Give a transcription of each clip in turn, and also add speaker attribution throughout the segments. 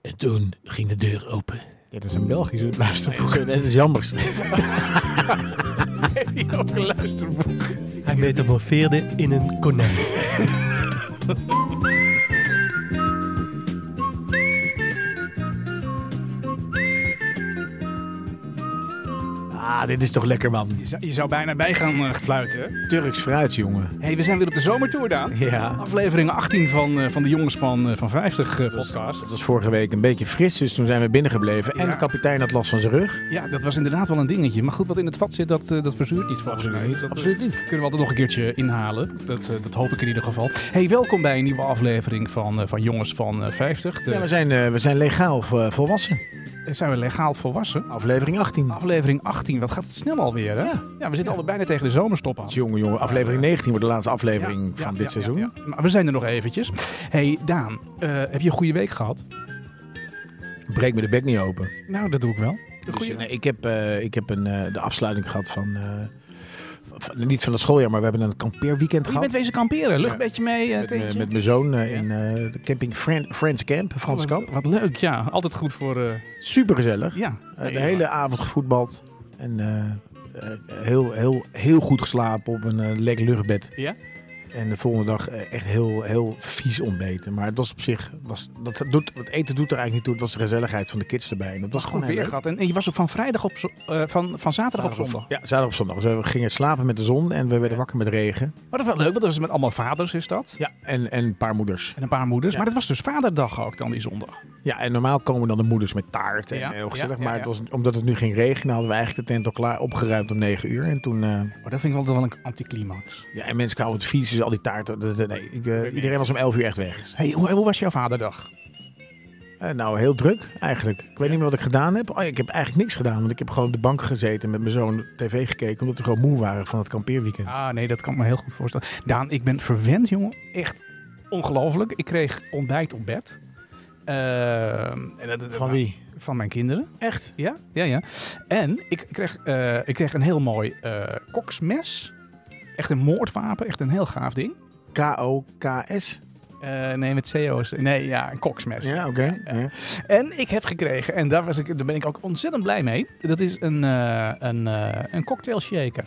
Speaker 1: En toen ging de deur open.
Speaker 2: Dit is een Belgische luisterboek.
Speaker 3: Zo, dat is jammer.
Speaker 2: Heeft hij ook een luisterboek?
Speaker 3: Hij metamorfeerde in een konijn.
Speaker 1: Ah, dit is toch lekker, man.
Speaker 2: Je zou, je zou bijna bij gaan eh, fluiten.
Speaker 1: Turks fruit, jongen.
Speaker 2: hey, we zijn weer op de zomertour, Daan.
Speaker 1: Ja.
Speaker 2: Aflevering 18 van, eh, van de Jongens van, eh, van 50 eh, podcast.
Speaker 1: Het was vorige week een beetje fris, dus toen zijn we binnengebleven. En
Speaker 2: Ja.
Speaker 1: de kapitein had last van zijn rug.
Speaker 2: Ja, dat was inderdaad wel een dingetje. Maar goed, wat in het vat zit, dat, eh, dat verzuurt niet volgens mij. Dus Dat, eh,
Speaker 1: Absoluut niet.
Speaker 2: Kunnen we altijd nog een keertje inhalen. Dat, eh, dat hoop ik in ieder geval. hey, welkom bij een nieuwe aflevering van, eh, van Jongens van eh, 50. De-
Speaker 1: Ja, we zijn, eh, we zijn legaal eh, volwassen.
Speaker 2: Zijn we legaal volwassen?
Speaker 1: Aflevering 18.
Speaker 2: Aflevering 18, wat gaat het snel alweer, hè?
Speaker 1: Ja.
Speaker 2: we zitten al bijna tegen de zomerstop aan.
Speaker 1: Jongen, jongen. Aflevering 19 wordt de laatste
Speaker 2: Ja,
Speaker 1: aflevering
Speaker 2: ja,
Speaker 1: van
Speaker 2: ja,
Speaker 1: dit
Speaker 2: ja,
Speaker 1: seizoen.
Speaker 2: ja. Maar we zijn er nog eventjes. hey, Daan, eh, heb je een goede week gehad?
Speaker 1: Breek me de bek niet open.
Speaker 2: Nou, dat doe ik wel. Een
Speaker 1: Dus,
Speaker 2: goede Oh,
Speaker 1: eh, nee, ik heb, eh, ik heb een, eh, de afsluiting gehad van, eh, van- Niet van het schooljaar, maar we hebben een kampeerweekend
Speaker 2: Je
Speaker 1: gehad.
Speaker 2: bent wezen kamperen. Luchtbedje mee, eh,
Speaker 1: Met, me-
Speaker 2: tentje.
Speaker 1: met mijn zoon eh, in eh, de camping Fran- Friends Camp, Frans
Speaker 2: Oh, wat,
Speaker 1: Kamp.
Speaker 2: wat leuk, ja. Altijd goed voor... eh,
Speaker 1: Supergezellig.
Speaker 2: ja.
Speaker 1: Eh, de hele avond gevoetbald. En eh, eh, heel, heel, heel goed geslapen op een eh, lekker luchtbed.
Speaker 2: Ja?
Speaker 1: En de volgende dag eh, echt heel, heel vies ontbeten. Maar het was op zich... Was, dat doet, het eten doet er eigenlijk niet toe. Het was de gezelligheid van de kids erbij. En dat was gewoon
Speaker 2: Goed
Speaker 1: heel
Speaker 2: weer
Speaker 1: leuk.
Speaker 2: gehad. En, en je was ook van vrijdag op... zo- eh, van, van zaterdag op zondag.
Speaker 1: Ja, zaterdag op zondag. Dus we gingen slapen met de zon en we werden wakker met regen.
Speaker 2: Maar dat is wel leuk, want dat is met allemaal vaders, is dat?
Speaker 1: Ja, en, en een paar moeders.
Speaker 2: En een paar moeders.
Speaker 1: Ja.
Speaker 2: Maar dat was dus vaderdag ook dan die zondag.
Speaker 1: Ja, en normaal komen dan de moeders met taart en eh,
Speaker 2: Ja,
Speaker 1: heel gezellig.
Speaker 2: ja, ja,
Speaker 1: maar
Speaker 2: ja.
Speaker 1: Het was, omdat het nu ging regenen, hadden we eigenlijk de tent al klaar opgeruimd om 9 uur. En toen... eh,
Speaker 2: Maar Oh, dat vind ik altijd wel een anticlimax.
Speaker 1: ja, en mensen kwamen op het fiets, dus al die taarten. dat- dat- Nee, ik, eh, iedereen was om 11 uur echt weg.
Speaker 2: Hey, hoe, hoe was jouw vaderdag?
Speaker 1: Eh, nou, heel druk eigenlijk. Ik weet niet meer wat ik gedaan heb. Oh, ja, ik heb eigenlijk niks gedaan, want ik heb gewoon op de bank gezeten met mijn zoon tv gekeken. Omdat we gewoon moe waren van het kampeerweekend.
Speaker 2: Ah, nee, dat kan ik me heel goed voorstellen. Daan, ik ben verwend, jongen. Echt ongelooflijk. Ik kreeg ontbijt op bed. Ehm, en dat- dat-
Speaker 1: Van wie?
Speaker 2: Van mijn kinderen.
Speaker 1: Echt?
Speaker 2: Ja, ja, ja. En ik kreeg, eh, ik kreeg een heel mooi eh, koksmes. Echt een moordwapen. Echt een heel gaaf ding.
Speaker 1: K-O-K-S?
Speaker 2: Eh, nee, met CO's. Nee, ja, een koksmes.
Speaker 1: Ja, oké. Ja.
Speaker 2: En ik heb gekregen, en daar, was ik, daar ben ik ook ontzettend blij mee. Dat is een, eh, een, eh, een cocktail shaker.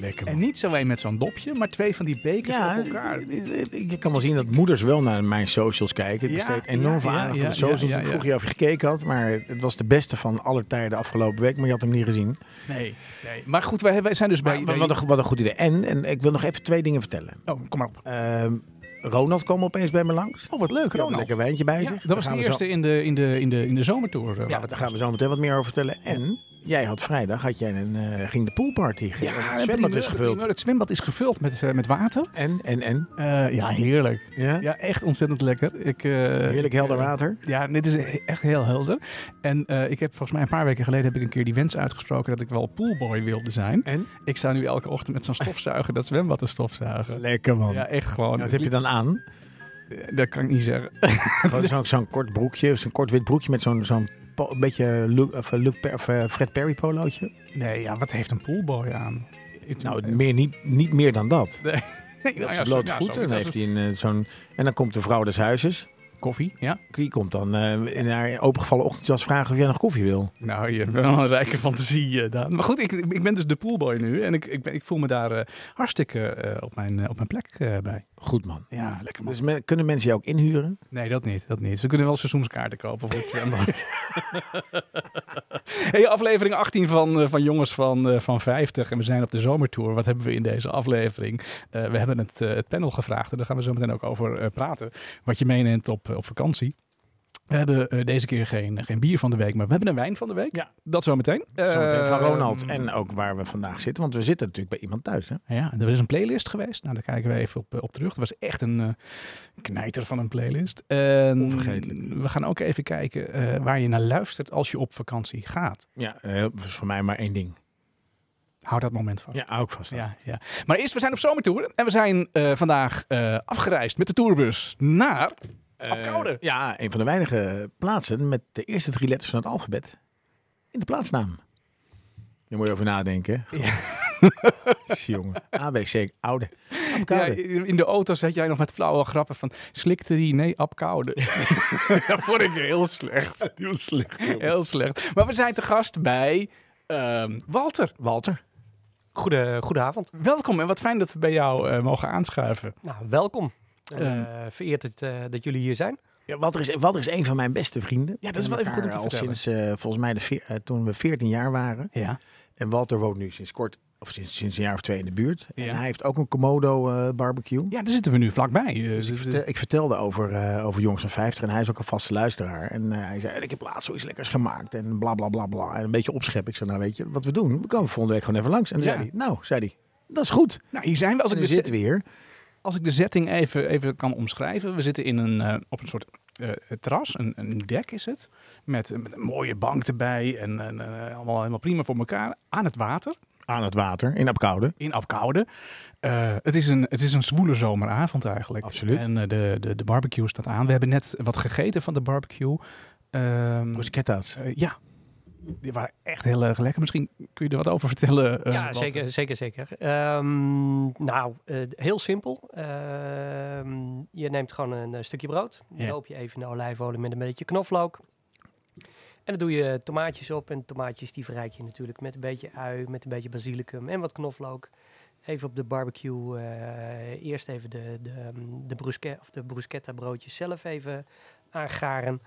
Speaker 1: Lekker
Speaker 2: En
Speaker 1: man.
Speaker 2: niet zo één met zo'n dopje, maar twee van die bekers op elkaar.
Speaker 1: je kan wel zien dat moeders wel naar mijn socials kijken. Ik
Speaker 2: Ja,
Speaker 1: besteed enorm
Speaker 2: ja,
Speaker 1: veel
Speaker 2: ja,
Speaker 1: aandacht
Speaker 2: ja,
Speaker 1: aan de socials.
Speaker 2: ja, ja,
Speaker 1: Ik
Speaker 2: ja.
Speaker 1: vroeg je of je gekeken had, maar het was de beste van alle tijden afgelopen week. Maar je had hem niet gezien.
Speaker 2: Nee, nee. Maar goed, wij, wij zijn dus bij...
Speaker 1: Maar, maar wat, een, go- wat een goed idee. En, en ik wil nog even twee dingen vertellen.
Speaker 2: Oh, kom maar op.
Speaker 1: Ehm, Ronald kwam opeens bij me langs.
Speaker 2: Oh, wat leuk,
Speaker 1: Ik had een
Speaker 2: Ronald.
Speaker 1: lekker wijntje bij
Speaker 2: Ja,
Speaker 1: zich.
Speaker 2: dat was de
Speaker 1: Daar gaan we
Speaker 2: eerste in, de, in, de, in, de, in de zomertour. eh,
Speaker 1: Zo, ja,
Speaker 2: waar
Speaker 1: daar gaan we zo meteen wat meer over vertellen. En jij had vrijdag had jij een, eh, ging de poolparty. Ging,
Speaker 2: Ja,
Speaker 1: het
Speaker 2: een
Speaker 1: zwembad
Speaker 2: primeur,
Speaker 1: is
Speaker 2: een
Speaker 1: gevuld.
Speaker 2: primeur. Het zwembad is gevuld met, eh, met water.
Speaker 1: En, en, en.
Speaker 2: Eh, ja, heerlijk.
Speaker 1: Ja?
Speaker 2: Ja, echt ontzettend lekker. Ik, eh,
Speaker 1: Heerlijk helder water.
Speaker 2: Ja, dit is he- echt heel helder. En eh, ik heb volgens mij een paar weken geleden heb ik een keer die wens uitgesproken dat ik wel poolboy wilde zijn.
Speaker 1: En?
Speaker 2: Ik sta nu elke ochtend met zo'n stofzuiger, dat zwembad te stofzuigen.
Speaker 1: Lekker man.
Speaker 2: eh, Ja, echt gewoon.
Speaker 1: Nou, wat heb je dan aan?
Speaker 2: Dat kan ik niet zeggen.
Speaker 1: Gewoon zo'n zo'n kort broekje, zo'n kort wit broekje met zo'n zo'n po- een beetje Luke, of eh, Luke Per- of, eh, Fred Perry polootje.
Speaker 2: Nee, ja, wat heeft een poolboy aan? Ik-
Speaker 1: Nou, meer, niet, niet meer dan dat.
Speaker 2: nee,
Speaker 1: Op
Speaker 2: nou ja,
Speaker 1: zijn
Speaker 2: zo-
Speaker 1: blote
Speaker 2: ja,
Speaker 1: voeten
Speaker 2: zo-
Speaker 1: dan heeft hij een, eh, zo'n... En dan komt de vrouw des huizes.
Speaker 2: Koffie, ja.
Speaker 1: Die komt dan eh, in haar opengevallen ochtendjas vragen of jij nog koffie wil.
Speaker 2: Nou, je hebt wel een rijke fantasie, eh, Daan. Maar goed, ik, ik ben dus de poolboy nu. En ik, ik, ben- ik voel me daar eh, hartstikke eh, op, mijn, eh, op mijn plek eh, bij.
Speaker 1: Goed man.
Speaker 2: Ja, lekker man.
Speaker 1: Dus me- kunnen mensen jou ook inhuren?
Speaker 2: Nee, dat niet, dat niet. Ze kunnen wel seizoenskaarten kopen voor het zwembad. hey, aflevering 18 van, eh, van Jongens van, eh, van 50. En we zijn op de zomertour. Wat hebben we in deze aflevering? Eh, we hebben het, eh, het panel gevraagd en daar gaan we zo meteen ook over eh, praten. Wat je meeneemt op, eh, op vakantie. We hebben eh, deze keer geen, geen bier van de week, maar we hebben een wijn van de week.
Speaker 1: Ja.
Speaker 2: Dat zometeen.
Speaker 1: Zometeen van
Speaker 2: Eh,
Speaker 1: Ronald. En ook waar we vandaag zitten. Want we zitten natuurlijk bij iemand thuis. Hè?
Speaker 2: Ja, er is een playlist geweest. Nou, daar kijken we even op, op terug. Dat was echt een eh, knijter van een playlist. En
Speaker 1: Onvergetelijk.
Speaker 2: We gaan ook even kijken eh, waar je naar luistert als je op vakantie gaat.
Speaker 1: Ja, eh, dat is voor mij maar één ding.
Speaker 2: Hou dat moment vast.
Speaker 1: Ja, hou ik vast. aan.
Speaker 2: Ja, ja. Maar eerst, we zijn op zomertour. En we zijn eh, vandaag eh, afgereisd met de tourbus naar...
Speaker 1: Eh,
Speaker 2: Apeldoorn.
Speaker 1: ja, een van de weinige plaatsen met de eerste drie letters van het alfabet in de plaatsnaam. Daar moet je over nadenken. hè?
Speaker 2: Ja.
Speaker 1: Jongen. ABC, oude.
Speaker 2: Ja,
Speaker 1: Apkoude.
Speaker 2: in de auto zat jij nog met flauwe grappen van slikte die? Nee, apkoude. dat vond ik heel slecht.
Speaker 1: Heel slecht.
Speaker 2: Heel slecht. Maar we zijn te gast bij ehm, Walter.
Speaker 1: Walter.
Speaker 3: Goede, goedenavond.
Speaker 2: Welkom en wat fijn dat we bij jou eh, mogen aanschuiven.
Speaker 3: Nou, welkom. Eh, vereerd dat, eh, dat jullie hier zijn.
Speaker 1: Ja, Walter, is, Walter is een van mijn beste vrienden.
Speaker 2: Ja, dat is
Speaker 1: We
Speaker 2: wel even
Speaker 1: kennen
Speaker 2: goed om te
Speaker 1: elkaar al sinds, eh, volgens mij, de veer- eh, toen we 14 jaar waren.
Speaker 2: Ja.
Speaker 1: En Walter woont nu sinds kort, of sinds, sinds een jaar of twee in de buurt.
Speaker 2: Ja.
Speaker 1: En hij heeft ook een Komodo eh, barbecue.
Speaker 2: Ja, daar zitten we nu vlakbij. eh,
Speaker 1: Dus ik,
Speaker 2: dus-
Speaker 1: vertel- ik vertelde over, eh, over Jongens van 50 en hij is ook een vaste luisteraar. En eh, hij zei, ik heb laatst zoiets lekkers gemaakt en bla bla bla bla. En een beetje opschep. Ik zei, nou weet je, wat we doen, we komen volgende week gewoon even langs. En dan
Speaker 2: Ja.
Speaker 1: zei hij, nou, zei hij, dat is goed.
Speaker 2: nou, hier zijn we. Als
Speaker 1: En
Speaker 2: ik,
Speaker 1: nu
Speaker 2: de,
Speaker 1: zitten
Speaker 2: se-
Speaker 1: we hier.
Speaker 2: als ik de setting even, even kan omschrijven. We zitten in een, eh, op een soort eh, terras, een, een dek is het. Met, met een mooie bank erbij en, en, eh, allemaal helemaal prima voor elkaar. Aan het water.
Speaker 1: Aan het water, in Apkoude.
Speaker 2: in Apkoude. Eh, het, is een, het is een zwoele zomeravond eigenlijk.
Speaker 1: Absoluut.
Speaker 2: En eh, de, de, de barbecue staat aan. We hebben net wat gegeten van de barbecue. Ehm,
Speaker 1: Bruschetta's.
Speaker 2: eh, ja, die waren echt heel erg lekker. Misschien kun je er wat over vertellen. eh,
Speaker 3: ja,
Speaker 2: Walter.
Speaker 3: zeker, zeker, zeker. Ehm, nou, eh, heel simpel. Ehm, je neemt gewoon een eh, stukje brood.
Speaker 2: Ja.
Speaker 3: Loop je even in de olijfolie met een beetje knoflook. En dan doe je tomaatjes op. En tomaatjes die verrijk je natuurlijk met een beetje ui, met een beetje basilicum en wat knoflook. Even op de barbecue eh, eerst even de, de, ehm, de, bruschetta, of de bruschetta broodjes zelf even aangaren.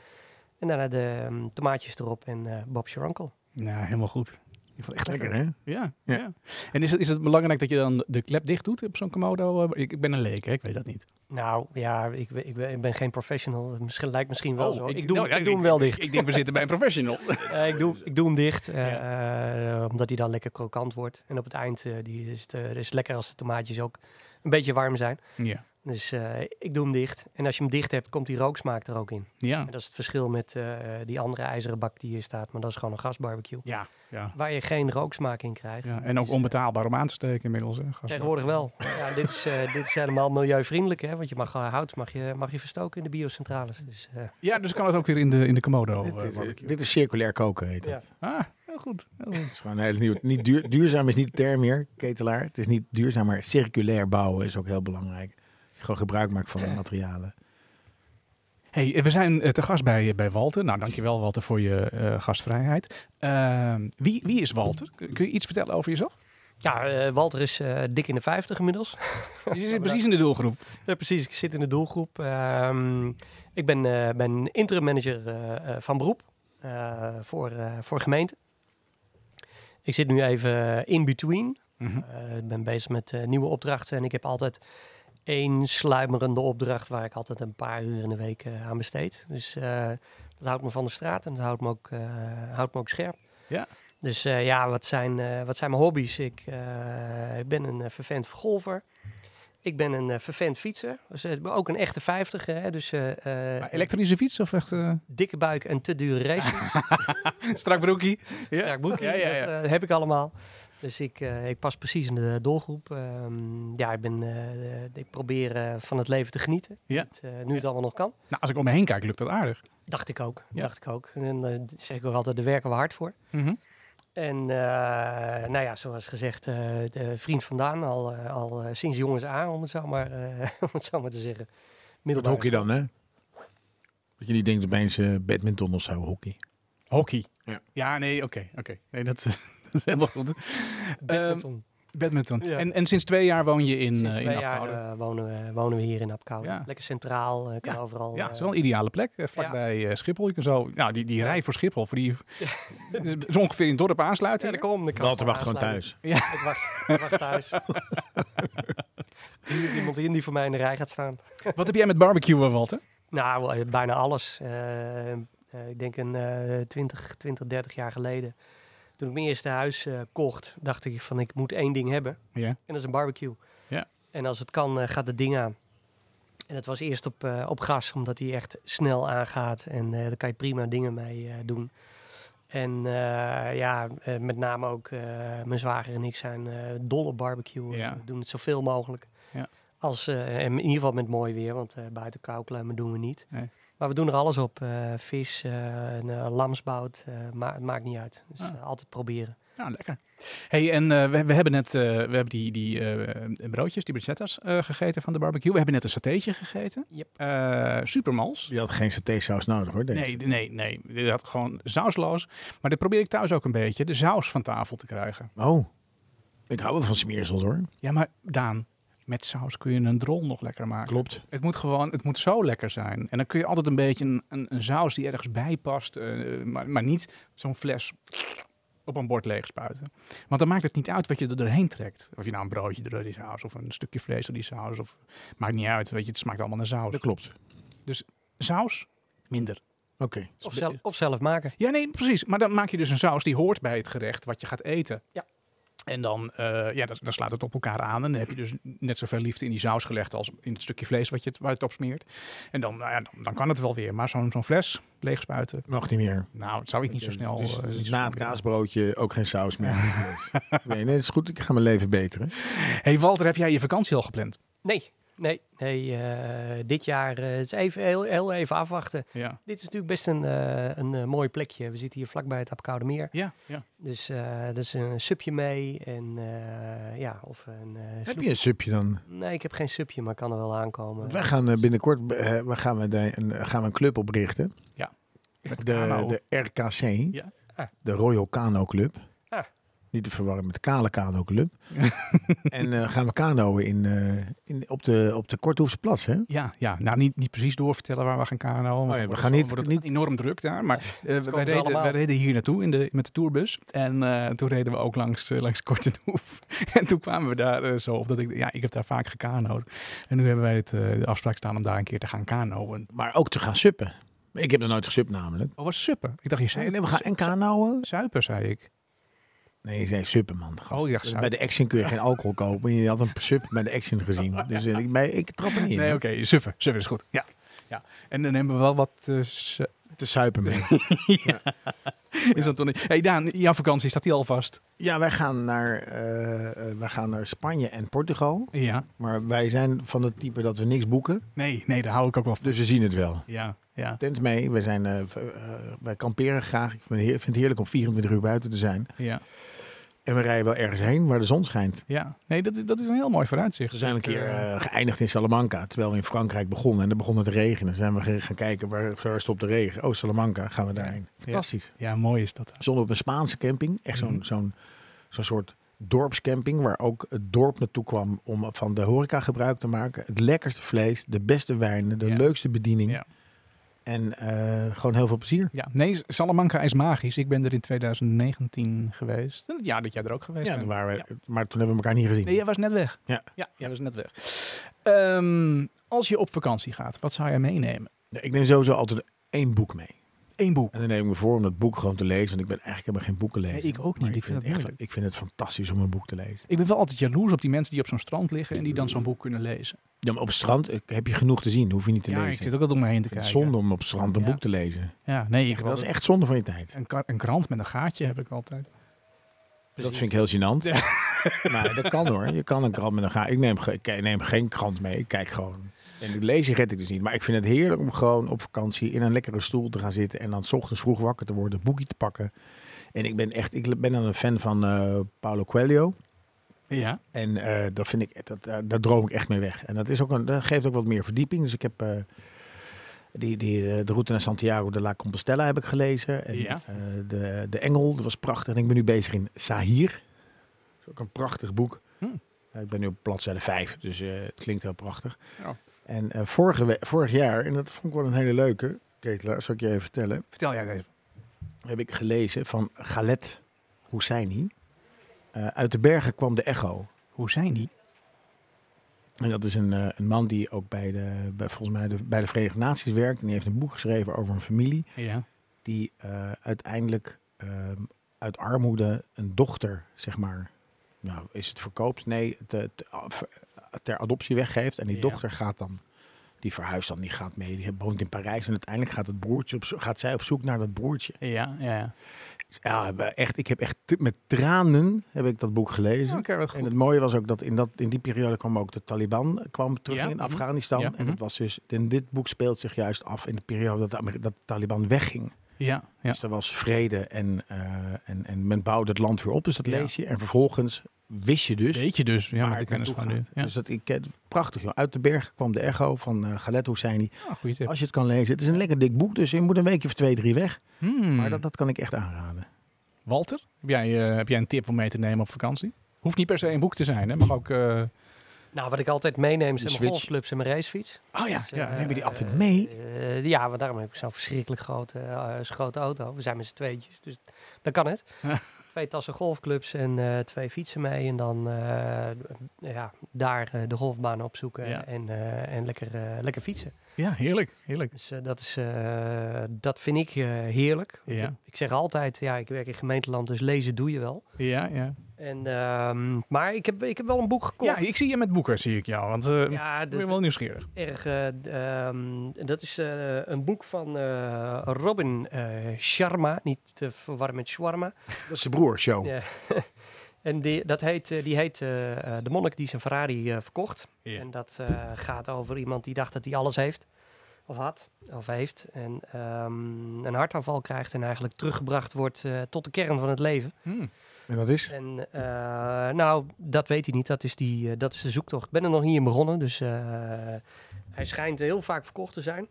Speaker 3: En daarna de ehm, tomaatjes erop en eh, Bob's your uncle.
Speaker 2: Nou, helemaal goed. Ik vond het echt lekker.
Speaker 1: Lekker, hè?
Speaker 2: Ja, ja.
Speaker 1: Ja.
Speaker 2: En is het, is het belangrijk dat je dan de klep dicht doet op zo'n komodo? eh, ik, ik ben een leek, hè? ik weet dat niet.
Speaker 3: Nou ja, ik, ben- ik, ben, ik ben geen professional. Het Misschien, lijkt misschien wel zo. Ik, doe,
Speaker 2: nou,
Speaker 3: hem-
Speaker 2: ja,
Speaker 3: ik doe hem wel
Speaker 2: ik-
Speaker 3: dicht.
Speaker 2: Ik, denk, we zitten bij een professional.
Speaker 3: Eh, ik, doe, ik doe hem dicht, eh, eh, omdat hij dan lekker krokant wordt. En op het eind eh, die is het eh, is het lekker als de tomaatjes ook een beetje warm zijn.
Speaker 2: ja.
Speaker 3: Dus eh, ik doe hem dicht. En als je hem dicht hebt, komt die rooksmaak er ook in.
Speaker 2: Ja.
Speaker 3: En dat is het verschil met eh, die andere ijzeren bak die hier staat. Maar dat is gewoon een gasbarbecue.
Speaker 2: Ja. ja.
Speaker 3: Waar je geen rooksmaak in krijgt.
Speaker 2: ja.
Speaker 3: Dat
Speaker 2: En ook
Speaker 3: is, eh,
Speaker 2: onbetaalbaar om aan te steken inmiddels. hè, gast.
Speaker 3: Tegenwoordig wel. Ja, dit, is, eh, dit is helemaal milieuvriendelijk, hè? want je mag eh, hout mag je, mag je verstoken in de biocentrales. Dus, eh,
Speaker 2: Ja, dus kan het ook weer in de, in de Komodo eh,
Speaker 1: Dit is-
Speaker 2: barbecue.
Speaker 1: Dit is circulair koken, heet
Speaker 3: Ja.
Speaker 1: het.
Speaker 2: Ah, heel goed. Heel goed.
Speaker 1: Het is gewoon een hele nieuwe... Niet duur, duurzaam is niet de term meer, ketelaar. Het is niet duurzaam, maar circulair bouwen is ook heel belangrijk. Gewoon gebruik maken van de materialen.
Speaker 2: Hey, eh, we zijn eh, te gast bij, eh, bij Walter. Nou, dankjewel Walter voor je eh, gastvrijheid. Ehm, wie, wie is Walter? Kun kun je iets vertellen over jezelf?
Speaker 3: Ja, eh, Walter is eh, dik in de 50 inmiddels.
Speaker 2: Je zit precies in de doelgroep.
Speaker 3: Ja, precies, ik zit in de doelgroep. Ehm, ik ben, eh, ben interim manager eh, eh, van beroep eh, voor, eh, voor gemeente. Ik zit nu even eh, in between.
Speaker 2: Mhm.
Speaker 3: Eh, ik ben bezig met eh, nieuwe opdrachten en ik heb altijd één sluimerende opdracht waar ik altijd een paar uur in de week eh, aan besteed. Dus eh, dat houdt me van de straat en dat houdt me ook, eh, houdt me ook scherp.
Speaker 2: Ja.
Speaker 3: Dus eh, ja, wat zijn, eh, wat zijn mijn hobby's? Ik, eh, ik ben een eh, vervent golfer. Ik ben een eh, vervent fietser. Dus, eh, ik ben ook een echte vijftiger. Hè? Dus eh, eh,
Speaker 2: Maar elektrische fiets of echt eh
Speaker 3: dikke buik en te dure race.
Speaker 2: strak broekie? Ja.
Speaker 3: Sterk boekje.
Speaker 2: Ja, ja, ja.
Speaker 3: Dat eh, heb ik allemaal. Dus ik, eh, ik pas precies in de doelgroep. Ehm, ja, ik, ben, eh, ik probeer eh, van het leven te genieten.
Speaker 2: Ja.
Speaker 3: Het, eh, nu het allemaal nog kan.
Speaker 2: Nou, als ik om me heen kijk, lukt dat aardig.
Speaker 3: Dacht ik ook.
Speaker 2: Ja.
Speaker 3: Dacht ik ook. En dan eh, zeg ik ook altijd, daar werken we hard voor.
Speaker 2: Mhm.
Speaker 3: En eh, nou ja, zoals gezegd, eh, de vriend vandaan al, eh, al eh, sinds jongens aan, om het zo maar, eh, om het zo maar te zeggen.
Speaker 1: Dat
Speaker 3: Middelbaar.
Speaker 1: hockey dan, hè? Dat je niet denkt opeens eh badminton of zo, hockey.
Speaker 2: Hockey.
Speaker 1: Ja.
Speaker 2: nee, oké. oké. Nee, dat, eh, dat is helemaal goed.
Speaker 3: Badminton.
Speaker 2: Badminton.
Speaker 3: Ja.
Speaker 2: En, en sinds twee jaar woon je in,
Speaker 3: Sinds
Speaker 2: Ehm, eh,
Speaker 3: twee
Speaker 2: in
Speaker 3: jaar
Speaker 2: Apeldoorn.
Speaker 3: eh, wonen, we, wonen we hier in Apkoude.
Speaker 2: Ja.
Speaker 3: Lekker centraal, eh, kan overal.
Speaker 2: Ja,
Speaker 3: eh,
Speaker 2: het is wel een ideale plek. eh, Vlakbij eh, Schiphol. Je kan zo, nou, die, die rij voor Schiphol. Voor die, Het is- is ongeveer in het dorp
Speaker 3: ja,
Speaker 2: aansluiten.
Speaker 3: daar kom, daar kan
Speaker 1: Walter
Speaker 3: ik
Speaker 1: wacht gewoon
Speaker 3: aansluiten.
Speaker 1: thuis.
Speaker 3: Ik wacht, ik wacht thuis. Hier is iemand in die voor mij in de rij gaat staan.
Speaker 2: Wat heb jij met barbecue, Walter?
Speaker 3: Nou, eh, bijna alles. Eh, eh, ik denk een eh 20, 20, 30 jaar geleden. Toen ik mijn eerste huis eh, kocht, dacht ik van ik moet één ding hebben.
Speaker 2: Ja.
Speaker 3: En dat is een barbecue.
Speaker 2: Ja.
Speaker 3: En als het kan, eh, gaat het ding aan. En het was eerst op, eh, op gas, omdat die echt snel aangaat. En eh daar kan je prima dingen mee eh, doen. En eh, ja, eh, met name ook eh, mijn zwager en ik zijn eh dol op barbecue.
Speaker 2: Ja.
Speaker 3: We doen het zoveel mogelijk.
Speaker 2: Ja.
Speaker 3: Als, eh, en in ieder geval met mooi weer, want eh, buiten kou klemmen doen we niet.
Speaker 2: Nee.
Speaker 3: Maar we doen er alles op. eh, vis, eh, en, eh, lamsbout, eh, ma- het maakt niet uit. Dus
Speaker 2: Ah.
Speaker 3: eh, altijd proberen.
Speaker 2: Ja, lekker. hey, en eh, we, we hebben net eh, we hebben die, die eh, broodjes, die bruschettas eh, gegeten van de barbecue. We hebben net een satéetje gegeten.
Speaker 3: Yep.
Speaker 2: Eh, supermals.
Speaker 1: Die had geen satésaus nodig hoor. Deze.
Speaker 2: Nee, nee, nee. Dit had gewoon sausloos. Maar dat probeer ik thuis ook een beetje, de saus van tafel te krijgen.
Speaker 1: Oh, ik hou wel van smeersels hoor.
Speaker 2: Ja, maar Daan, met saus kun je een drol nog lekker maken.
Speaker 1: Klopt.
Speaker 2: Het moet gewoon, het moet zo lekker zijn. En dan kun je altijd een beetje een, een, een saus die ergens bij past, eh, maar, maar niet zo'n fles op een bord leeg spuiten. Want dan maakt het niet uit wat je er doorheen trekt. Of je nou een broodje door die saus of een stukje vlees door die saus. Of, maakt niet uit, weet je, het smaakt allemaal naar saus.
Speaker 1: Dat klopt. Oké.
Speaker 2: Saus? Minder.
Speaker 3: Of, zelf of zelf maken.
Speaker 2: Ja, nee, precies. Maar dan maak je dus een saus die hoort bij het gerecht wat je gaat eten.
Speaker 3: Ja.
Speaker 2: En dan, eh, ja, dan, dan slaat het op elkaar aan. En dan heb je dus net zoveel liefde in die saus gelegd als in het stukje vlees wat je het, waar je het op smeert. En dan, nou ja, dan, dan kan het wel weer. Maar zo'n zo'n fles leegspuiten,
Speaker 1: Mag niet meer.
Speaker 2: nou, dat zou ik niet zo snel...
Speaker 1: Dus,
Speaker 2: eh,
Speaker 1: dus
Speaker 2: niet zo
Speaker 1: na
Speaker 2: snel
Speaker 1: het
Speaker 2: doen.
Speaker 1: kaasbroodje ook geen saus meer. nee, nee, het is goed. Ik ga mijn leven beteren.
Speaker 2: hey Walter, heb jij je vakantie al gepland?
Speaker 3: Nee, nee, nee. eh, dit jaar eh, het is even, heel, heel even afwachten.
Speaker 2: Ja.
Speaker 3: Dit is natuurlijk best een, eh, een eh, mooi plekje. We zitten hier vlakbij het Apkoude Meer.
Speaker 2: Ja, ja.
Speaker 3: Dus eh dat is een subje mee. En eh, ja, of een eh,
Speaker 1: Heb
Speaker 3: snoep.
Speaker 1: je een subje dan?
Speaker 3: Nee, ik heb geen subje, maar kan er wel aankomen.
Speaker 1: Want wij gaan eh, binnenkort eh, we gaan, we de- een, gaan we een club oprichten.
Speaker 2: Met
Speaker 1: De,
Speaker 2: kano.
Speaker 1: de RKC.
Speaker 2: Ja.
Speaker 3: Ah.
Speaker 1: De Royal Kano Club.
Speaker 3: Ah.
Speaker 1: Niet te verwarren met de Kale Kano Club. en eh, gaan we kanoën in, eh, in, op de, op de Korthoefse Plas, hè?
Speaker 2: Ja, ja, nou niet, niet precies doorvertellen waar we gaan kanoën. want
Speaker 1: Oh ja,
Speaker 2: dan
Speaker 1: we
Speaker 2: wordt
Speaker 1: gaan
Speaker 2: het-
Speaker 1: niet-
Speaker 2: wordt het
Speaker 1: niet-
Speaker 2: enorm druk daar. Maar eh, wij,
Speaker 3: komen ze
Speaker 2: reden,
Speaker 3: allemaal.
Speaker 2: wij reden hier naartoe in de, met de tourbus. En eh, toen reden we ook langs, eh, langs Kortenhoef. en toen kwamen we daar eh, zo op dat ik, ja, ik heb daar vaak gekanood. En nu hebben wij het, eh, de afspraak staan om daar een keer te gaan kanoën.
Speaker 1: Maar ook te gaan suppen. Ik heb nog nooit gesupt namelijk.
Speaker 2: Oh, was suppen. Ik dacht, je zei
Speaker 1: Nee, nee, we gaan en kanoën.
Speaker 2: zuipen, zei ik.
Speaker 1: Nee, je zei suppen, man. gast. Dus
Speaker 2: Oh, je dacht
Speaker 1: bij de Action kun je geen alcohol kopen. Je had een sup bij de Action gezien. Dus eh, ik, bij, ik trap er niet in.
Speaker 2: Nee,
Speaker 1: hè.
Speaker 2: oké, suppen. Suppen is goed, ja. ja. En dan hebben we wel wat... eh, su-
Speaker 1: Te suipen mee.
Speaker 2: is dat dan niet? hey Daan, jouw vakantie, staat die alvast?
Speaker 1: Ja, wij gaan, naar, eh, eh, wij gaan naar Spanje en Portugal.
Speaker 2: Ja.
Speaker 1: Maar wij zijn van het type dat we niks boeken.
Speaker 2: Nee, nee, daar hou ik ook wel van.
Speaker 1: Dus we zien het wel.
Speaker 2: Ja, ja.
Speaker 1: Tent mee. Wij, zijn, eh, v- eh, wij kamperen graag. Ik vind het heer- vind het heerlijk om 24 uur buiten te zijn.
Speaker 2: Ja,
Speaker 1: En we rijden wel ergens heen waar de zon schijnt.
Speaker 2: ja. Nee, dat is, dat is een heel mooi vooruitzicht.
Speaker 1: We zijn een keer
Speaker 2: Eh,
Speaker 1: eh, geëindigd in Salamanca, terwijl we in Frankrijk begonnen. En dan begon het te regenen. Zijn we ge- gaan kijken, waar, waar stopt de regen? Oh, Salamanca, gaan we daarheen. Fantastisch.
Speaker 2: ja, mooi is dat.
Speaker 1: We Stonden op een Spaanse camping. Echt zo'n
Speaker 2: Mhm.
Speaker 1: zo'n zo'n soort dorpscamping, waar ook het dorp naartoe kwam om van de horeca gebruik te maken. Het lekkerste vlees, de beste wijnen, de
Speaker 2: Ja.
Speaker 1: leukste bediening.
Speaker 2: Ja.
Speaker 1: En eh, gewoon heel veel plezier.
Speaker 2: Ja, nee, Salamanca is magisch. Ik ben er in 2019 geweest. Het jaar dat jij er ook geweest
Speaker 1: Ja,
Speaker 2: bent.
Speaker 1: toen waren we, maar toen hebben we elkaar niet gezien.
Speaker 2: Nee, jij was net weg.
Speaker 1: Ja.
Speaker 2: ja jij was net weg. Ehm, als je op vakantie gaat, wat zou jij meenemen?
Speaker 1: Nee, Ik neem sowieso altijd één boek mee.
Speaker 2: Eén boek.
Speaker 1: En dan neem ik me voor om dat boek gewoon te lezen. Want ik ben eigenlijk helemaal geen boeken lezen.
Speaker 2: Nee, ik ook niet.
Speaker 1: Maar
Speaker 2: Ik vind dat
Speaker 1: het echt-
Speaker 2: moeilijk.
Speaker 1: ik vind het fantastisch om een boek te lezen.
Speaker 2: Ik ben wel altijd jaloers op die mensen die op zo'n strand liggen en die dan zo'n boek kunnen lezen.
Speaker 1: Ja, maar op het strand eh, heb je genoeg te zien. Dan hoef je niet te
Speaker 2: ja, ik
Speaker 1: lezen.
Speaker 2: zit ook altijd om me heen te
Speaker 1: het
Speaker 2: kijken.
Speaker 1: is zonde om op het strand een
Speaker 2: Ja.
Speaker 1: boek te lezen.
Speaker 2: Ja, nee, ik
Speaker 1: dat
Speaker 2: was
Speaker 1: is echt zonde van je tijd.
Speaker 2: een, kar- een krant met een gaatje heb ik altijd.
Speaker 1: Dat vind ik heel gênant.
Speaker 2: Ja.
Speaker 1: Maar dat kan hoor. Je kan een krant met een ga. Ik neem, ge- ik neem geen krant mee. Ik kijk gewoon. En het lezen red ik dus niet. Maar ik vind het heerlijk om gewoon op vakantie in een lekkere stoel te gaan zitten. En dan 's ochtends vroeg wakker te worden. Een boekje te pakken. En ik ben echt, ik ben dan een fan van eh Paulo Coelho.
Speaker 2: Ja.
Speaker 1: En eh, dat vind ik, dat, daar- daar droom ik echt mee weg. En dat, is ook een, dat geeft ook wat meer verdieping. Dus ik heb eh, die, die, eh, de route naar Santiago de la Compostela heb ik gelezen. En
Speaker 2: Ja.
Speaker 1: eh, de, de Engel, dat was prachtig. En ik ben nu bezig in Sahir. Dat is ook een prachtig boek.
Speaker 2: Hm.
Speaker 1: Eh, ik ben nu op bladzijde 5, dus eh, het klinkt heel prachtig.
Speaker 2: Ja.
Speaker 1: En eh, vorige we- vorig jaar, en dat vond ik wel een hele leuke, Ketelaar, zal ik je even vertellen.
Speaker 2: Vertel jij eh, even.
Speaker 1: Heb ik gelezen van Galet Hosseini. Eh, uit de bergen kwam de echo.
Speaker 2: Hoe zijn die?
Speaker 1: En dat is een, eh, een man die ook bij de, bij, volgens mij de, bij de Verenigde Naties werkt. En die heeft een boek geschreven over een familie
Speaker 2: Ja.
Speaker 1: die eh, uiteindelijk ehm, uit armoede een dochter, zeg maar, nou is het verkoopt? Nee, te- te- af- ter adoptie weggeeft. En die
Speaker 2: Ja.
Speaker 1: dochter gaat dan, die verhuist dan, die gaat mee, die woont in Parijs. En uiteindelijk gaat, het broertje op, zo- gaat zij op zoek naar dat broertje.
Speaker 2: Ja, ja.
Speaker 1: Ja, we- echt, ik heb echt te- met tranen heb ik dat boek gelezen.
Speaker 2: Oké, wat goed.
Speaker 1: En het mooie was ook dat in, dat in die periode kwam ook de Taliban kwam terug
Speaker 2: Ja,
Speaker 1: in
Speaker 2: mhm.
Speaker 1: Afghanistan.
Speaker 2: Ja,
Speaker 1: En
Speaker 2: mhm.
Speaker 1: dat was dus, in dit boek speelt zich juist af in de periode dat, de Amer- dat de Taliban wegging.
Speaker 2: Ja, ja.
Speaker 1: Dus er was vrede en, eh, en, en men bouwde het land weer op. Dus dat
Speaker 2: Ja.
Speaker 1: lees je. En vervolgens wist je dus
Speaker 2: Weet je dus. Ja, maar
Speaker 1: waar
Speaker 2: ik
Speaker 1: het
Speaker 2: ken het
Speaker 1: naartoe
Speaker 2: gewoon
Speaker 1: gaat.
Speaker 2: nu. Ja.
Speaker 1: Dus dat, ik, ken- prachtig. Joh. Uit de bergen kwam de echo van eh Galet Hosseini.
Speaker 2: Ah, goeie tip.
Speaker 1: Als je het kan lezen. Het is een lekker dik boek, dus je moet een weekje of twee, drie weg.
Speaker 2: Hmm.
Speaker 1: Maar dat, dat kan ik echt aanraden.
Speaker 2: Walter, heb jij, eh, heb jij een tip om mee te nemen op vakantie? Hoeft niet per se een boek te zijn, hè? Mag ook... eh,
Speaker 3: Nou, wat ik altijd meeneem zijn
Speaker 1: Die
Speaker 3: mijn
Speaker 1: switch.
Speaker 3: golfclubs en mijn racefiets.
Speaker 2: Oh ja,
Speaker 3: Dus,
Speaker 2: ja.
Speaker 3: eh,
Speaker 1: Neem je die altijd
Speaker 3: eh,
Speaker 1: mee?
Speaker 3: eh, ja, want daarom heb ik zo'n verschrikkelijk grote, eh, zo'n grote auto. We zijn met z'n tweetjes, dus dan kan het.
Speaker 2: Ja.
Speaker 3: Twee tassen golfclubs en eh, twee fietsen mee. En dan eh, ja, daar eh, de golfbaan opzoeken
Speaker 2: Ja.
Speaker 3: en, eh, en lekker, eh, lekker fietsen.
Speaker 2: ja, heerlijk, heerlijk.
Speaker 3: Dus eh, dat, is, eh, dat vind ik eh, heerlijk.
Speaker 2: Ja.
Speaker 3: Ik zeg altijd, ja, ik werk in gemeenteland, dus lezen doe je wel.
Speaker 2: Ja, ja.
Speaker 3: En, ehm, maar ik heb, ik heb wel een boek gekocht.
Speaker 2: ja, ik zie je met boeken, zie ik jou. Want eh ik
Speaker 3: Ja,
Speaker 2: ben
Speaker 3: dat,
Speaker 2: wel nieuwsgierig.
Speaker 3: erg, eh, d- ehm, dat is eh, een boek van eh, Robin eh, Sharma, niet te verwarren met Shawarma.
Speaker 1: Dat is de broer, show.
Speaker 3: Ja. En die, dat heet, eh, die heet eh, eh, De Monnik die zijn Ferrari eh, verkocht.
Speaker 2: Ja.
Speaker 3: En dat eh, gaat over iemand die dacht dat hij alles heeft. Of had, of heeft. En ehm, een hartaanval krijgt en eigenlijk teruggebracht wordt eh, tot de kern van het leven.
Speaker 2: Hmm.
Speaker 1: En dat is?
Speaker 3: En eh, nou, dat weet hij niet. Dat is, die, eh, dat is de zoektocht. Ik ben er nog niet in begonnen. Dus eh, hij schijnt heel vaak verkocht te zijn.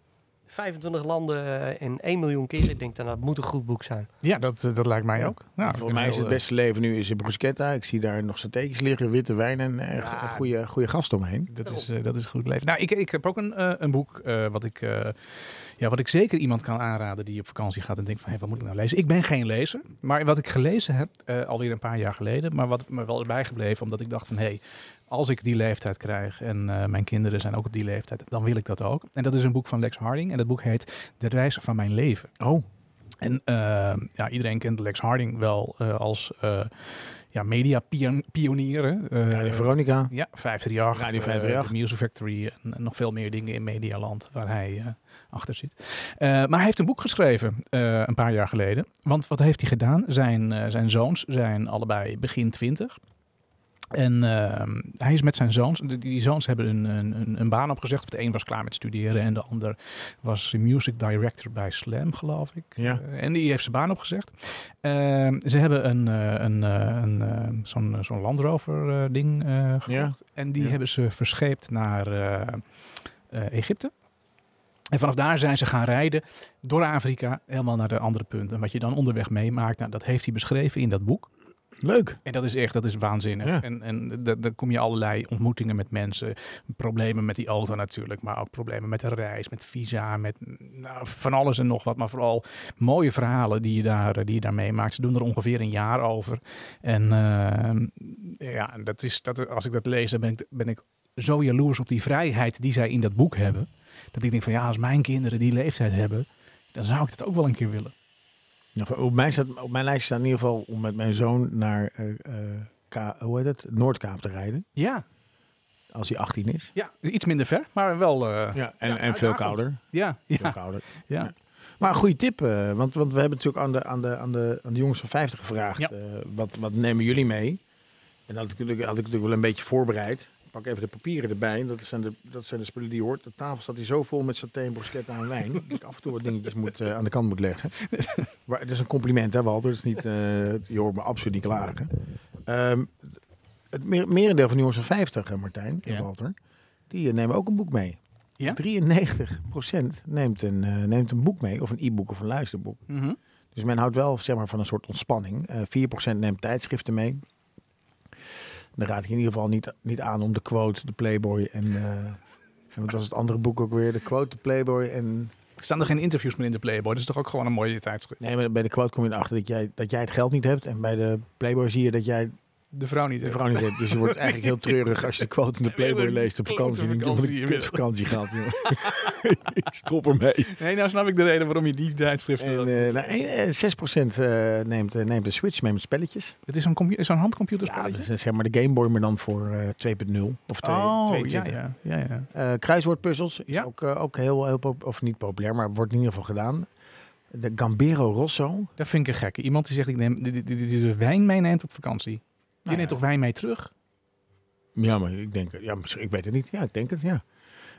Speaker 3: 25 landen eh, en 1 miljoen keer. Ik denk, dan, dat moet een goed boek zijn.
Speaker 2: Ja, dat, eh, dat lijkt mij
Speaker 1: Ja.
Speaker 2: ook. Nou,
Speaker 1: Voor mij is het beste leven nu is in bruschetta. Ik zie daar nog satéetjes liggen, witte wijn en eh,
Speaker 3: Ja.
Speaker 1: een goede, goede gast omheen.
Speaker 2: Dat is, eh, dat is goed leven. Nou, ik, ik heb ook een, eh, een boek eh, wat, ik, eh, ja, wat ik zeker iemand kan aanraden die op vakantie gaat en denkt van, hé, wat moet ik nou lezen? Ik ben geen lezer, maar wat ik gelezen heb, eh, alweer een paar jaar geleden, maar wat me wel is bijgebleven, omdat ik dacht van, hé, als ik die leeftijd krijg en eh, mijn kinderen zijn ook op die leeftijd, dan wil ik dat ook. En dat is een boek van Lex Harding en dat boek heet De Reis van Mijn Leven.
Speaker 1: Oh,
Speaker 2: En eh, ja, iedereen kent Lex Harding wel eh, als eh ja, eh, media-pionier.
Speaker 1: Radio Veronica.
Speaker 2: ja, 538.
Speaker 1: Radio
Speaker 2: eh,
Speaker 1: 538.
Speaker 2: de Music Factory en, en nog veel meer dingen in Medialand waar hij eh, achter zit. Eh, maar hij heeft een boek geschreven eh, een paar jaar geleden. Want wat heeft hij gedaan? Zijn, eh, zijn zoons zijn allebei begin twintig. En ehm, hij is met zijn zoons, die, die zoons hebben een, een, een- een baan opgezegd. De een was klaar met studeren en de ander was music director bij Slam, geloof ik.
Speaker 1: Ja.
Speaker 2: Eh, en die heeft zijn baan opgezegd. Ehm, ze hebben een, eh, een, eh, een, eh, zo'n, eh, zo'n Land Rover eh, ding eh, gekocht.
Speaker 1: Ja.
Speaker 2: En die
Speaker 1: Ja.
Speaker 2: hebben ze verscheept naar eh, eh, Egypte. En vanaf daar zijn ze gaan rijden door Afrika helemaal naar de andere punten. En wat je dan onderweg meemaakt, nou, dat heeft hij beschreven in dat boek.
Speaker 1: Leuk.
Speaker 2: En dat is echt, dat is waanzinnig.
Speaker 1: Ja.
Speaker 2: En, en da- dan kom je allerlei ontmoetingen met mensen. Problemen met die auto natuurlijk, maar ook problemen met de reis, met visa, met nou, van alles en nog wat. Maar vooral mooie verhalen die je daar, eh, die je daar meemaakt. Ze doen er ongeveer een jaar over. En eh, ja, dat is, dat, als ik dat lees, dan ben ik, ben ik zo jaloers op die vrijheid die zij in dat boek hebben. Dat ik denk van ja, als mijn kinderen die leeftijd hebben, dan zou ik dat ook wel een keer willen.
Speaker 1: Nou, op, mijn staat, op mijn lijst staat in ieder geval om met mijn zoon naar eh, eh, Ka- hoe heet het? Noordkaap te rijden.
Speaker 2: Ja,
Speaker 1: Als hij 18 is.
Speaker 2: ja iets minder ver, maar wel. eh,
Speaker 1: Ja, en, en
Speaker 2: Ja,
Speaker 1: veel
Speaker 2: uitdagend.
Speaker 1: kouder.
Speaker 2: ja,
Speaker 1: Veel
Speaker 2: ja,
Speaker 1: kouder.
Speaker 2: ja.
Speaker 1: Maar een goede tip, eh, want, want we hebben natuurlijk aan de, aan de, aan de, aan de jongens van 50 gevraagd.
Speaker 2: Ja.
Speaker 1: eh, wat, wat nemen jullie mee? En dat had ik, natuurlijk- had ik natuurlijk wel een beetje voorbereid. Ik Pak even de papieren erbij. Dat zijn de, dat zijn de spullen die je hoort. De tafel staat hier zo vol met saté en bruschetta en wijn. dat ik af en toe wat dingetjes moet, eh, aan de kant moet leggen. Maar het is een compliment, hè Walter? Het is niet, eh, je hoort me absoluut niet klagen. Ehm, het mer- merendeel van de jongens van 50, eh, Martijn en
Speaker 2: Ja.
Speaker 1: Walter, die eh, nemen ook een boek mee.
Speaker 2: Ja?
Speaker 1: 93% neemt een, eh, neemt een boek mee, of een e-book of een luisterboek.
Speaker 2: Mhm.
Speaker 1: Dus men houdt wel zeg maar, van een soort ontspanning. Eh 4% neemt tijdschriften mee. Dan raad ik je in ieder geval niet, niet aan om de quote, de Playboy en. eh, en wat was het andere boek ook weer? De quote, de Playboy en.
Speaker 2: Staan er geen interviews meer in de Playboy? Dat is toch ook gewoon een mooie tijdschrift.
Speaker 1: Nee, maar bij de quote kom je erachter dat jij, dat jij het geld niet hebt. En bij de Playboy zie je dat jij
Speaker 2: De vrouw niet.
Speaker 1: de
Speaker 2: hè?
Speaker 1: vrouw niet hebt. Dus je wordt eigenlijk heel treurig als je de quote in de Playboy leest op vakantie. En je denkt, wat een kutvakantie gehad, joh. Ik strop ermee.
Speaker 2: Nee, nou snap ik de reden waarom je die tijdschrift...
Speaker 1: En, eh, nou, eh, 6% eh, neemt, eh, neemt de Switch mee met spelletjes.
Speaker 2: het is zo'n compu- zo'n
Speaker 1: Ja, dat
Speaker 2: handcomputerspelletje?
Speaker 1: is eh, zeg maar de Game Boy, maar dan voor eh, 2.0 of 2,
Speaker 2: oh,
Speaker 1: 2.20.
Speaker 2: ja, ja, ja, ja.
Speaker 1: Eh, kruiswoordpuzzels is
Speaker 2: Ja.
Speaker 1: ook, eh, ook heel, heel pop- of niet populair, maar wordt in ieder geval gedaan. De Gambero Rosso. Nou
Speaker 2: Dat vind ik een gekke. Iemand die zegt, ik neem, die, die, die- die de wijn meeneemt op vakantie. Die neemt
Speaker 1: Nou ja.
Speaker 2: toch wijn mee terug?
Speaker 1: Ja, maar ik denk, ja, misschien- ik weet het niet. Ja, ik denk het, ja.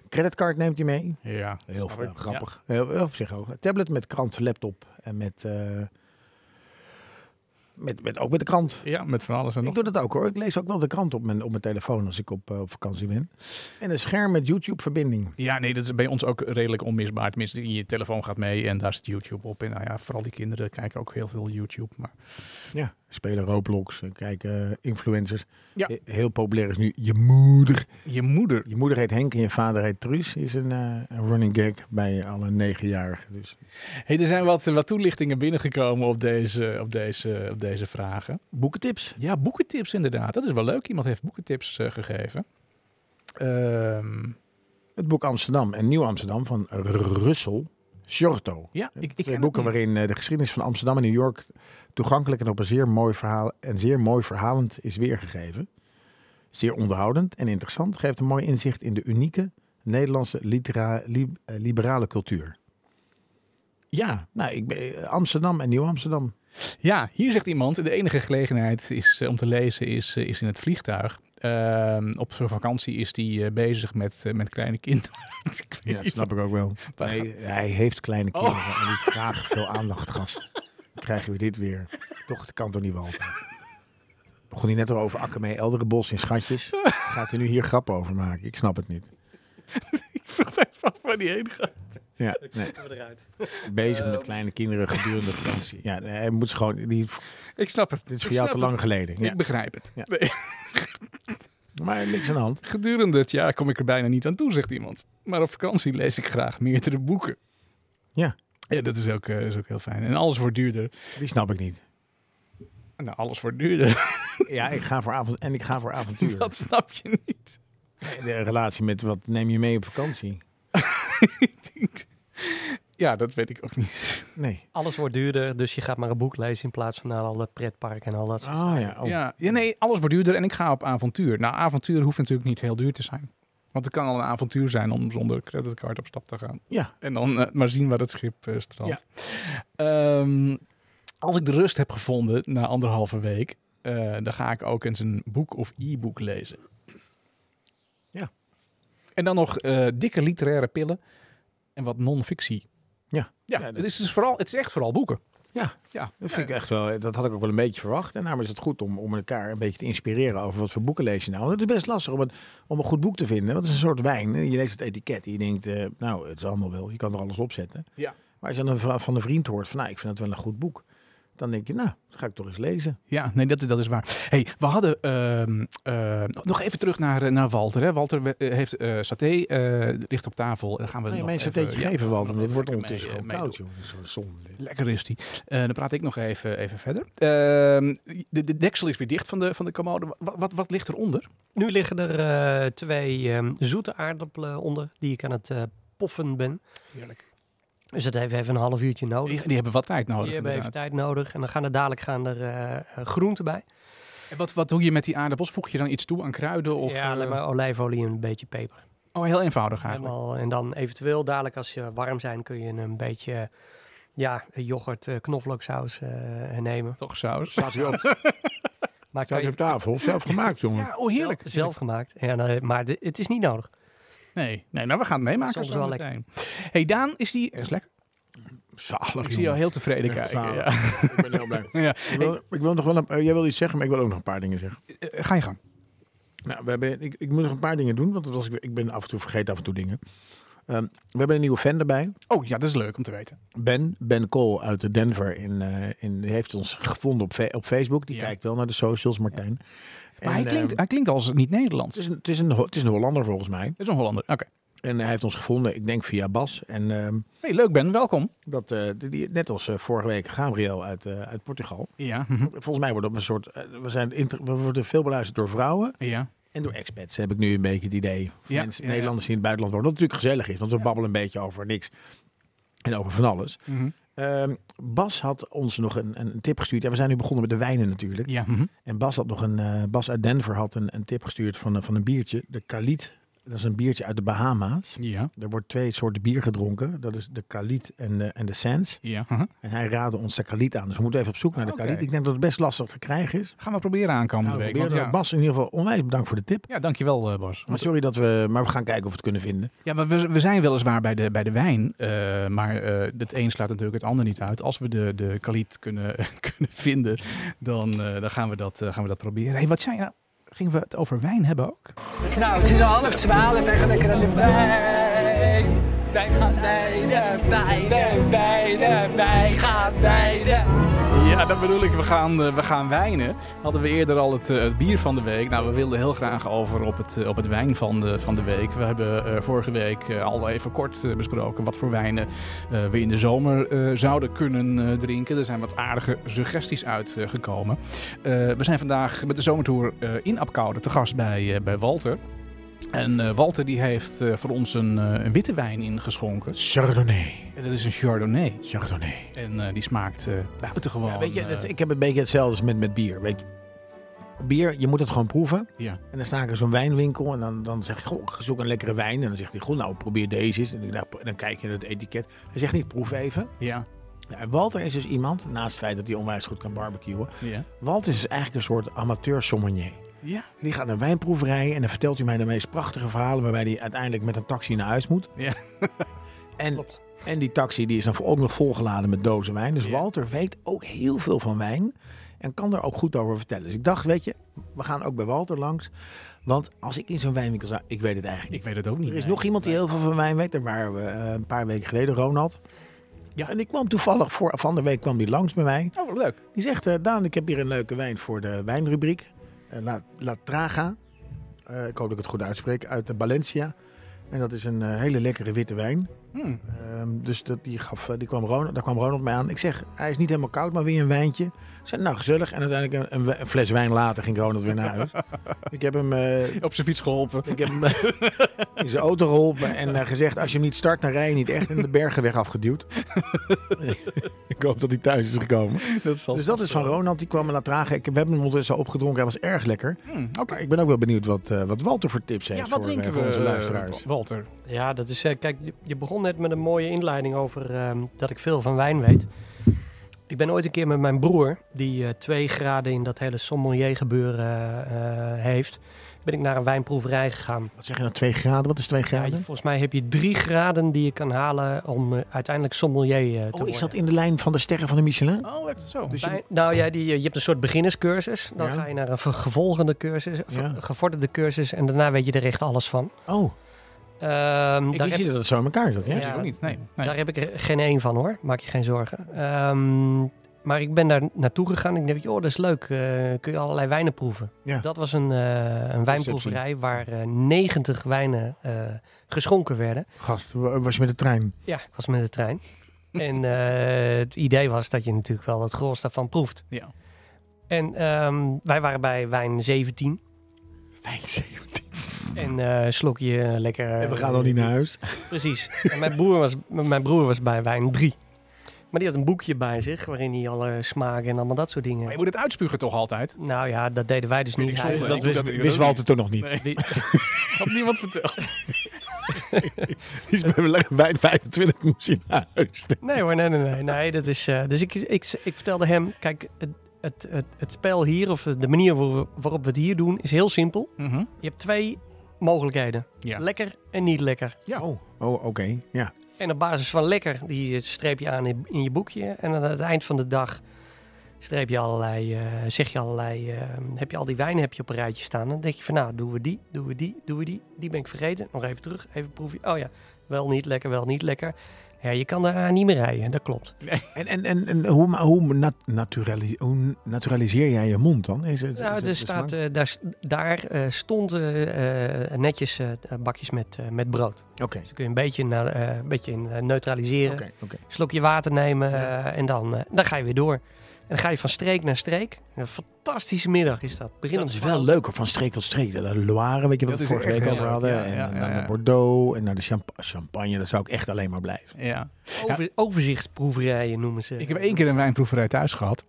Speaker 1: Creditcard neemt hij mee.
Speaker 2: Ja.
Speaker 1: Heel
Speaker 2: Grappig.
Speaker 1: grappig. grappig. Heel, heel op zich ook. Tablet met krant, laptop en met, eh, met, met ook met de krant.
Speaker 2: ja, met van alles en
Speaker 1: Ik
Speaker 2: nog.
Speaker 1: doe dat ook hoor. Ik lees ook wel de krant op mijn, op mijn telefoon als ik op, eh, op vakantie ben. En een scherm met YouTube-verbinding.
Speaker 2: Ja, nee, dat is bij ons ook redelijk onmisbaar. Tenminste, je telefoon gaat mee en daar zit YouTube op. En nou ja, vooral die kinderen kijken ook heel veel YouTube. Maar
Speaker 1: Ja, spelen Roblox, eh, kijken eh, influencers.
Speaker 2: Ja.
Speaker 1: Eh, Heel populair is nu je moeder.
Speaker 2: je moeder,
Speaker 1: Je moeder heet Henk en je vader heet Truus. Is een eh, een running gag bij alle negenjarigen. Dus
Speaker 2: Hey, er zijn wat, wat toelichtingen binnengekomen op deze, op, deze, op deze vragen.
Speaker 1: boekentips.
Speaker 2: Ja, boekentips inderdaad. Dat is wel leuk. Iemand heeft boekentips eh, gegeven. Ehm,
Speaker 1: Het boek Amsterdam en Nieuw Amsterdam van Russell Giorto.
Speaker 2: ja, ik, ik
Speaker 1: Twee
Speaker 2: ken
Speaker 1: boeken
Speaker 2: het niet.
Speaker 1: waarin eh, de geschiedenis van Amsterdam en New York toegankelijk en op een zeer mooi verhaal en zeer mooi verhalend is weergegeven. Zeer onderhoudend en interessant, geeft een mooi inzicht in de unieke Nederlandse litera- li- eh, liberale cultuur. Ja, nou, ik ben, eh, Amsterdam en Nieuw Amsterdam.
Speaker 2: Ja, hier zegt iemand, de enige gelegenheid is, eh, om te lezen is, eh, is in het vliegtuig. Ehm, op zijn vakantie is hij bezig met, eh, met kleine kinderen. Ik weet
Speaker 1: Ja, dat
Speaker 2: niet
Speaker 1: snap ik ook wel.
Speaker 2: waar-
Speaker 1: Nee, hij heeft kleine
Speaker 2: Oh.
Speaker 1: kinderen en die vragen veel aandacht, gast. Dan krijgen we dit weer. Toch, dat kan toch niet wel. Begon hij net al over Akkermee, Elderenbos en Schatjes. Gaat hij nu hier grappen over maken? Ik snap het niet.
Speaker 2: Ik vroeg mij af waar die heen gaat.
Speaker 1: Ja, nee.
Speaker 3: Kunnen we eruit.
Speaker 1: Bezig
Speaker 2: Oh.
Speaker 1: met kleine kinderen gedurende de vakantie. Ja, nee, hij moet ze gewoon... Die,
Speaker 2: Ik snap het.
Speaker 1: dit is
Speaker 2: Ik
Speaker 1: voor jou
Speaker 2: snap
Speaker 1: te
Speaker 2: het.
Speaker 1: lang geleden. Ja.
Speaker 2: Ik begrijp het.
Speaker 1: Ja.
Speaker 2: Nee.
Speaker 1: Maar niks aan de hand.
Speaker 2: Gedurende het jaar kom ik er bijna niet aan toe, zegt iemand. Maar op vakantie lees ik graag meerdere boeken.
Speaker 1: Ja.
Speaker 2: Ja, dat is ook, eh, is ook heel fijn. En alles wordt duurder.
Speaker 1: Die snap ik niet.
Speaker 2: Nou, alles wordt duurder.
Speaker 1: Ja, ik ga voor avond en ik ga voor avontuur.
Speaker 2: Dat snap je niet.
Speaker 1: De relatie met wat neem je mee op vakantie?
Speaker 2: Ik denk- ja, dat weet ik ook niet.
Speaker 1: Nee.
Speaker 3: Alles wordt duurder, dus je gaat maar een boek lezen in plaats van naar alle pretparken en al dat soort
Speaker 2: Ah.
Speaker 1: Oh ja. Oh.
Speaker 2: Ja. ja, nee, alles wordt duurder en ik ga op avontuur. Nou, avontuur hoeft natuurlijk niet heel duur te zijn. Want het kan al een avontuur zijn om zonder creditcard op stap te gaan.
Speaker 1: Ja.
Speaker 2: En dan eh, maar zien waar het schip eh, strandt. Ehm, als ik de rust heb gevonden na anderhalve week, eh, dan ga ik ook eens een boek of e-book lezen.
Speaker 1: Ja.
Speaker 2: En dan nog eh, dikke literaire pillen en wat non-fictie.
Speaker 1: Ja.
Speaker 2: Ja,
Speaker 1: Ja, dat-
Speaker 2: het, is dus vooral, het is echt vooral boeken.
Speaker 1: Ja.
Speaker 2: ja.
Speaker 1: Dat vind ik echt wel, dat had ik ook wel een beetje verwacht. En daarom is het goed om, om elkaar een beetje te inspireren over wat voor boeken lees je nou. Want het is best lastig om, het, om een goed boek te vinden. Want het is een soort wijn. Je leest het etiket en je denkt, eh, nou, het is allemaal wel. Je kan er alles op zetten.
Speaker 2: Ja.
Speaker 1: Maar als je dan een vra- van een vriend hoort van, nou, ik vind het wel een goed boek. Dan denk je, nou, dat ga ik toch eens lezen.
Speaker 2: Ja, nee, dat, dat is waar. hey, we hadden... ehm, eh, nog even terug naar, eh, naar Walter. Hè. Walter we- eh, heeft eh saté eh, ligt op tafel. En dan gaan we
Speaker 1: Ga je
Speaker 2: nog
Speaker 1: mij een
Speaker 2: even-
Speaker 1: satéetje
Speaker 2: ja,
Speaker 1: geven, Walter? Want
Speaker 2: nog
Speaker 1: het
Speaker 2: even
Speaker 1: wordt
Speaker 2: lekker
Speaker 1: ondertussen
Speaker 2: mee,
Speaker 1: gewoon
Speaker 2: eh,
Speaker 1: koud, joh. Dat is wel zonde.
Speaker 2: Lekker is die. Eh, dan praat ik nog even, even verder. Ehm, de, de deksel is weer dicht van de, van de commode. Wat, wat, wat ligt eronder?
Speaker 3: Nu liggen er eh, twee ehm, zoete aardappelen onder die ik aan het eh, poffen ben.
Speaker 2: Heerlijk.
Speaker 3: Dus dat heeft even een half uurtje nodig.
Speaker 2: Oh, Die, die hebben wat tijd nodig.
Speaker 3: die hebben even
Speaker 2: inderdaad.
Speaker 3: tijd nodig en dan gaan er dadelijk gaan er, eh, eh, groenten bij.
Speaker 2: En wat, wat doe je met die aardappels? Voeg je dan iets toe aan kruiden? Of,
Speaker 3: ja,
Speaker 2: eh,
Speaker 3: alleen maar olijfolie en een beetje peper.
Speaker 2: Oh, heel eenvoudig eigenlijk.
Speaker 3: Helemaal, eh, en dan eventueel dadelijk als ze warm zijn kun je een beetje ja, yoghurt, eh, knoflooksaus eh, nemen.
Speaker 2: Toch saus?
Speaker 1: Staat hij op,
Speaker 3: Maar
Speaker 1: staat
Speaker 3: kan
Speaker 1: hij
Speaker 3: je
Speaker 1: op tafel. Zelf gemaakt, jongen.
Speaker 2: Ja, oh heerlijk.
Speaker 3: zelf, zelf gemaakt. Ja, nou, maar de- het is niet nodig.
Speaker 2: Nee, nee, nou we gaan het meemaken.
Speaker 3: Soms wel
Speaker 2: zometeen. hey, Daan is die... Is lekker.
Speaker 1: Zalig,
Speaker 2: Ik zie jou
Speaker 1: jongen.
Speaker 2: heel tevreden
Speaker 1: Echt
Speaker 2: kijken. Ja.
Speaker 1: zalig. Ik ben heel blij.
Speaker 2: Ja.
Speaker 1: Ik wil, ik wil nog wel een, eh, jij wil iets zeggen, maar ik wil ook nog een paar dingen zeggen.
Speaker 2: Eh, ga je gang.
Speaker 1: Nou, we hebben, ik, ik moet nog een paar dingen doen, want dat was, ik- ik ben af en toe vergeet af en toe dingen. Ehm, we hebben een nieuwe fan erbij.
Speaker 2: Oh ja, dat is leuk om te weten.
Speaker 1: Ben, Ben Cole uit de Denver. In, eh, in, die heeft ons gevonden op, fe- op Facebook. Die
Speaker 2: Ja.
Speaker 1: kijkt wel naar de socials, Martijn.
Speaker 2: Maar
Speaker 1: En,
Speaker 2: hij, klinkt,
Speaker 1: ehm,
Speaker 2: hij klinkt als niet-Nederlands.
Speaker 1: het, is een, het, is een, Ho- het is een Hollander volgens mij.
Speaker 2: Dat is een Hollander. Oké.
Speaker 1: En hij heeft ons gevonden, ik denk via Bas. En ehm,
Speaker 2: Hey, leuk Ben, welkom.
Speaker 1: dat, eh, die- die, net als eh, vorige week Gabriel uit, eh, uit Portugal.
Speaker 2: Ja.
Speaker 1: Volgens mij worden we een soort. eh, we, zijn inter- we worden veel beluisterd door vrouwen.
Speaker 2: ja.
Speaker 1: En door expats heb ik nu een beetje het idee. Of
Speaker 2: Ja,
Speaker 1: mensen,
Speaker 2: ja, ja.
Speaker 1: Nederlanders die in het buitenland wonen. Dat natuurlijk gezellig is, want we babbelen een beetje over niks. En over van alles.
Speaker 2: Mhm.
Speaker 1: Ehm, Bas had ons nog een, een tip gestuurd. Ja, we zijn nu begonnen met de wijnen natuurlijk.
Speaker 2: ja. Mhm.
Speaker 1: eh, En Bas, had nog een, eh, Bas uit Denver had een, een tip gestuurd van, een- van een biertje. De Khalid Dat is een biertje uit de Bahama's.
Speaker 2: Ja.
Speaker 1: Er wordt twee soorten bier gedronken. Dat is de Kaliet en de, en de Sans.
Speaker 2: ja. Mhm. haha.
Speaker 1: En hij raadde ons de Kaliet aan. Dus we moeten even op zoek naar de
Speaker 2: Ah, Oké.
Speaker 1: Kaliet. Ik denk dat het best lastig te krijgen is.
Speaker 2: Gaan we proberen aankomende
Speaker 1: Nou, we
Speaker 2: week. Want,
Speaker 1: proberen het.
Speaker 2: ja.
Speaker 1: Bas, in ieder geval onwijs bedankt voor de tip.
Speaker 2: ja, dankjewel eh Bas.
Speaker 1: Maar sorry dat we... Maar we gaan kijken of we het kunnen vinden.
Speaker 2: Ja, maar we, we zijn weliswaar bij de, bij de wijn, eh, maar eh, het een sluit natuurlijk het ander niet uit. Als we de, de kaliet kunnen, kunnen vinden, dan, eh, dan gaan, we dat, eh, gaan we dat proberen. hey, wat zei je nou? Gingen we het over wijn hebben ook?
Speaker 4: Nou, het is half twaalf en lekker aan de wijn. Wij gaan beide, beide, beide, wij gaan beide.
Speaker 2: Ja, dat bedoel ik. We gaan, eh, we gaan wijnen. Hadden we eerder al het, eh, het bier van de week. Nou, we wilden heel graag over op het, eh, op het wijn van de, van de week. We hebben eh, vorige week eh, al even kort eh, besproken wat voor wijnen eh, we in de zomer eh, zouden kunnen eh, drinken. Er zijn wat aardige suggesties uitgekomen. Eh, we zijn vandaag met de zomertour eh, in Apkoude te gast bij, eh, bij Walter. En eh, Walter die heeft eh, voor ons een, eh, een witte wijn ingeschonken.
Speaker 1: Chardonnay.
Speaker 2: En dat is een Chardonnay.
Speaker 1: Chardonnay.
Speaker 2: En eh, die smaakt eh, buitengewoon.
Speaker 1: Ja, weet je,
Speaker 2: eh,
Speaker 1: dat- ik heb een beetje hetzelfde als met, met bier. Weet je. Bier, je moet het gewoon proeven.
Speaker 2: ja.
Speaker 1: En dan sta ik in zo'n wijnwinkel en dan, dan zeg ik, goh, zoek een lekkere wijn. En dan zegt hij, goh, nou probeer deze eens. En ik- nou, en dan kijk je naar het etiket. Hij zegt niet, proef even.
Speaker 2: Ja,
Speaker 1: Ja, en Walter is dus iemand, naast het feit dat hij onwijs goed kan barbecuen.
Speaker 2: ja.
Speaker 1: Walter is dus eigenlijk een soort amateur sommelier.
Speaker 2: Ja,
Speaker 1: Die gaat naar wijnproeverijen en dan vertelt hij mij de meest prachtige verhalen... waarbij hij uiteindelijk met een taxi naar huis moet.
Speaker 2: Ja.
Speaker 1: en,
Speaker 3: Klopt.
Speaker 1: en die taxi die is dan ook nog volgeladen met dozen wijn. Dus
Speaker 2: Ja.
Speaker 1: Walter weet ook heel veel van wijn en kan daar ook goed over vertellen. Dus ik dacht, weet je, we gaan ook bij Walter langs. Want als ik in zo'n wijnwinkel zou... Ik weet het eigenlijk niet.
Speaker 2: ik weet het ook niet.
Speaker 1: Er is
Speaker 2: nee.
Speaker 1: nog iemand die heel veel van wijn weet. Daar waren we eh, een paar weken geleden, Ronald.
Speaker 2: Ja.
Speaker 1: En ik kwam toevallig, voor, van de week kwam die langs bij mij.
Speaker 2: Oh, wat leuk.
Speaker 1: Die zegt, eh, Daan, ik heb hier een leuke wijn voor de wijnrubriek. Eh, La, La Traga. Eh, ik hoop dat ik het goed uitspreek. Uit eh, Valencia. En dat is een eh, hele lekkere witte wijn.
Speaker 2: Hm.
Speaker 1: Ehm, dus dat, die gaf, eh, die kwam Ronald, daar kwam Ronald mee aan. Ik zeg, hij is niet helemaal koud, maar weer een wijntje. Ik zei, nou gezellig. En uiteindelijk een, een we- een fles wijn later ging Ronald weer naar huis. ik heb hem... eh,
Speaker 2: Op zijn fiets geholpen.
Speaker 1: ik heb hem eh, in zijn auto geholpen en eh, gezegd: als je hem niet start, dan rij je niet echt. En de bergenweg afgeduwd. ik hoop dat hij thuis is gekomen.
Speaker 2: Dat zal
Speaker 1: Dus dat is van
Speaker 2: eh,
Speaker 1: Ronald, die kwam me laat dragen. Ik, we hebben hem ondertussen al opgedronken, hij was erg lekker.
Speaker 2: Hm, Oké.
Speaker 1: Maar ik ben ook wel benieuwd wat, eh, wat Walter voor tips heeft
Speaker 2: Ja, wat
Speaker 1: voor, eh,
Speaker 2: drinken
Speaker 1: voor
Speaker 2: we,
Speaker 1: onze
Speaker 2: eh,
Speaker 1: luisteraars.
Speaker 2: Walter?
Speaker 3: Ja, dat is. eh, kijk, je- je begon net met een mooie inleiding over ehm, dat ik veel van wijn weet. Ik ben ooit een keer met mijn broer, die eh, twee graden in dat hele sommelier gebeuren eh, eh, heeft, ben ik naar een wijnproeverij gegaan.
Speaker 1: Wat zeg je nou, twee graden? Wat is twee
Speaker 3: Ja, je-
Speaker 1: graden? Oh,
Speaker 3: volgens mij heb je drie graden die je kan halen om eh, uiteindelijk sommelier eh, te
Speaker 1: oh,
Speaker 3: worden.
Speaker 1: is dat in de lijn van de sterren van de Michelin?
Speaker 2: Oh, echt zo.
Speaker 1: Dus je-
Speaker 3: Bij- nou ja, die, eh, je hebt een soort beginnerscursus. Dan
Speaker 1: Ja.
Speaker 3: ga je naar een ver- gevolgende cursus, ver-
Speaker 1: Ja.
Speaker 3: gevorderde cursus. En daarna weet je er echt alles van.
Speaker 1: Oh,
Speaker 3: Ehm,
Speaker 1: ik
Speaker 3: daar
Speaker 1: wist
Speaker 3: heb-
Speaker 1: niet dat het zo in elkaar zat. Ja?
Speaker 2: ja, ook niet. Nee. nee.
Speaker 3: Daar heb ik er geen één van hoor, maak je geen zorgen. Ehm, maar ik ben daar naartoe gegaan. Ik dacht, joh, dat is leuk. eh, kun je allerlei wijnen proeven.
Speaker 1: Ja.
Speaker 3: Dat was een, eh, een wijnproeverij waar eh, 90 wijnen eh, geschonken werden.
Speaker 1: Gast, wa- was je met de trein?
Speaker 3: Ja, ik was met de trein. en eh, het idee was dat je natuurlijk wel het gros daarvan proeft.
Speaker 2: Ja.
Speaker 3: En ehm, wij waren bij wijn 17.
Speaker 1: Fijn 17.
Speaker 3: En eh, slok je eh, lekker...
Speaker 1: En we gaan nog niet naar huis.
Speaker 3: Precies. En mijn, broer was, m- mijn broer was bij wijn 3. Maar die had een boekje bij zich waarin hij alle smaken en allemaal dat soort dingen.
Speaker 2: Maar je moet het uitspugen toch altijd?
Speaker 3: Nou ja, dat deden wij dus
Speaker 2: Vind
Speaker 3: niet.
Speaker 2: ik
Speaker 3: Hij-
Speaker 2: zonde.
Speaker 1: Dat
Speaker 2: moet
Speaker 1: wist,
Speaker 2: dat-
Speaker 1: wist Walter toen nog niet.
Speaker 2: Nee.
Speaker 3: Die-
Speaker 2: Had niemand verteld.
Speaker 1: Die is bij wijn 25 moest hij naar huis.
Speaker 3: Nee hoor, nee, nee, nee. nee dat is, eh, dus ik, ik, ik vertelde hem, kijk, het, het, het, het spel hier, of de manier waarop we, waarop we het hier doen, is heel simpel.
Speaker 2: Mhm.
Speaker 3: Je hebt twee mogelijkheden.
Speaker 2: Ja.
Speaker 3: Lekker en niet lekker.
Speaker 2: Ja.
Speaker 1: Oh, oh oké. Ja.
Speaker 3: En op basis van lekker, die eh, streep je aan in, in je boekje. En aan het eind van de dag streep je allerlei, eh, zeg je allerlei, eh, heb je al die wijnen heb je op een rijtje staan. Dan denk je van, nou, doen we die, doen we die, doen we die. Die ben ik vergeten. Nog even terug, even proefje. Oh ja, wel niet lekker, wel niet lekker. Ja, je kan daarna niet meer rijden, dat klopt.
Speaker 1: En, en, en, en hoe, ma- hoe, nat, naturali- hoe naturaliseer jij je mond dan? Is het,
Speaker 3: Nou,
Speaker 1: is het
Speaker 3: er
Speaker 1: de
Speaker 3: staat,
Speaker 1: smaak?
Speaker 3: eh, daar s- daar eh stonden eh, eh, netjes eh, bakjes met, eh, met brood. Dus
Speaker 1: Oké, oké,
Speaker 3: dan kun je een beetje, na- eh, een beetje in, eh, neutraliseren.
Speaker 1: oké.
Speaker 3: slokje water nemen
Speaker 1: Ja.
Speaker 3: eh, en dan, eh, dan ga je weer door. En dan ga je van streek naar streek. Een fantastische middag is dat. Begin
Speaker 1: Dat
Speaker 3: om
Speaker 1: is
Speaker 3: 12.
Speaker 1: wel leuker, van streek tot streek. De Loire, weet je wat
Speaker 2: Dat
Speaker 1: we
Speaker 2: is
Speaker 1: vorige
Speaker 2: echt
Speaker 1: week
Speaker 2: heel
Speaker 1: over
Speaker 2: leuk,
Speaker 1: hadden.
Speaker 2: ja, ja,
Speaker 1: en
Speaker 2: ja,
Speaker 1: dan
Speaker 2: ja.
Speaker 1: naar Bordeaux en naar de champa- champagne. Daar zou ik echt alleen maar blijven.
Speaker 2: Ja.
Speaker 3: Over, Overzichtsproeverijen noemen ze.
Speaker 2: Ik heb één keer een wijnproeverij thuis gehad.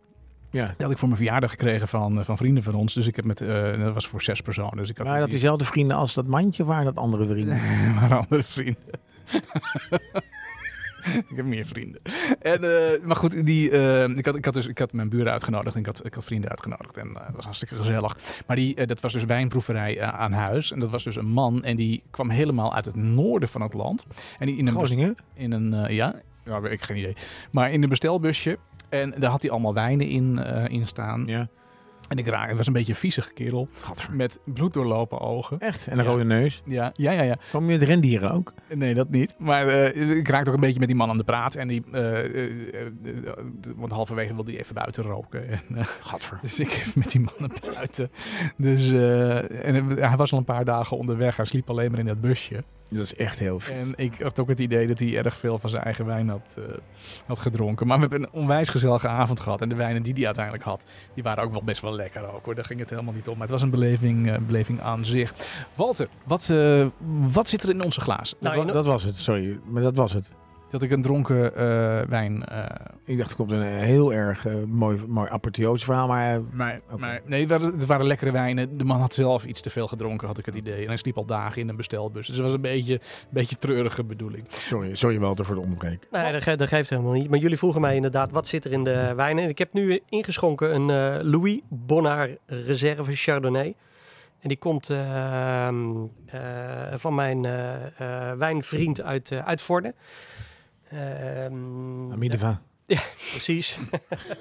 Speaker 1: Ja.
Speaker 2: Die had ik voor mijn verjaardag gekregen van, eh, van vrienden van ons. Dus ik heb met, eh, dat was voor zes personen. Dus ik had
Speaker 1: Waren dat
Speaker 2: die-
Speaker 1: diezelfde vrienden als dat mandje waren dat andere vrienden?
Speaker 2: maar andere vrienden. ik heb meer vrienden. En, eh, maar goed, die, eh, ik, had, ik, had dus, ik had mijn buren uitgenodigd en ik had, ik had vrienden uitgenodigd. En eh, dat was hartstikke gezellig. Maar die, eh, dat was dus wijnproeverij eh, aan huis. En dat was dus een man en die kwam helemaal uit het noorden van het land. En die in een,
Speaker 1: Groningen?
Speaker 2: in een eh, ja, ja, ik heb geen idee. Maar in een bestelbusje. En daar had hij allemaal wijnen in, eh, in staan.
Speaker 1: Ja.
Speaker 2: En ik raak, het was een beetje een viezige kerel. Met bloeddoorlopen ogen.
Speaker 1: Echt? En een
Speaker 2: Ja.
Speaker 1: rode neus?
Speaker 2: Ja, ja, ja, ja.
Speaker 1: Kwam je met rendieren ook?
Speaker 2: Nee, dat niet. Maar eh, ik raakte ook een beetje met die man aan de praat. En die, eh, eh, eh, want halverwege wilde hij even buiten roken. En, eh,
Speaker 1: Gadver.
Speaker 2: dus ik even met die man naar buiten. Dus, eh, en hij was al een paar dagen onderweg. Hij sliep alleen maar in dat busje.
Speaker 1: Dat is echt heel vies.
Speaker 2: En ik had ook het idee dat hij erg veel van zijn eigen wijn had, eh, had gedronken. Maar we hebben een onwijs gezellige avond gehad. En de wijnen die hij uiteindelijk had, die waren ook wel best wel lekker ook hoor. Daar ging het helemaal niet om. Maar het was een beleving, eh, beleving aan zich. Walter, wat, eh, wat zit er in onze glazen?
Speaker 1: Dat,
Speaker 3: Nou,
Speaker 1: wa- dat was het, sorry. Maar dat was het.
Speaker 2: Dat ik een dronken eh, wijn. eh
Speaker 1: Ik dacht, er komt een heel erg eh, mooi, mooi apotheoos verhaal, maar... eh,
Speaker 2: maar,
Speaker 1: Oké.
Speaker 2: maar- nee, het waren, het waren lekkere wijnen. De man had zelf iets te veel gedronken, had ik het idee. En hij sliep al dagen in een bestelbus. Dus het was een beetje, een beetje treurige bedoeling.
Speaker 1: Sorry, sorry Walter voor de onderbreking.
Speaker 3: Nee, Nou dat, ge- dat geeft helemaal niet. Maar jullie vroegen mij inderdaad, wat zit er in de wijnen? En Ik heb nu ingeschonken een eh, Louis Bonnard Reserve Chardonnay. En die komt eh, ehm, eh, van mijn eh, eh, wijnvriend uit, eh uit Vorden. Ehm,
Speaker 1: Amideva.
Speaker 3: Precies.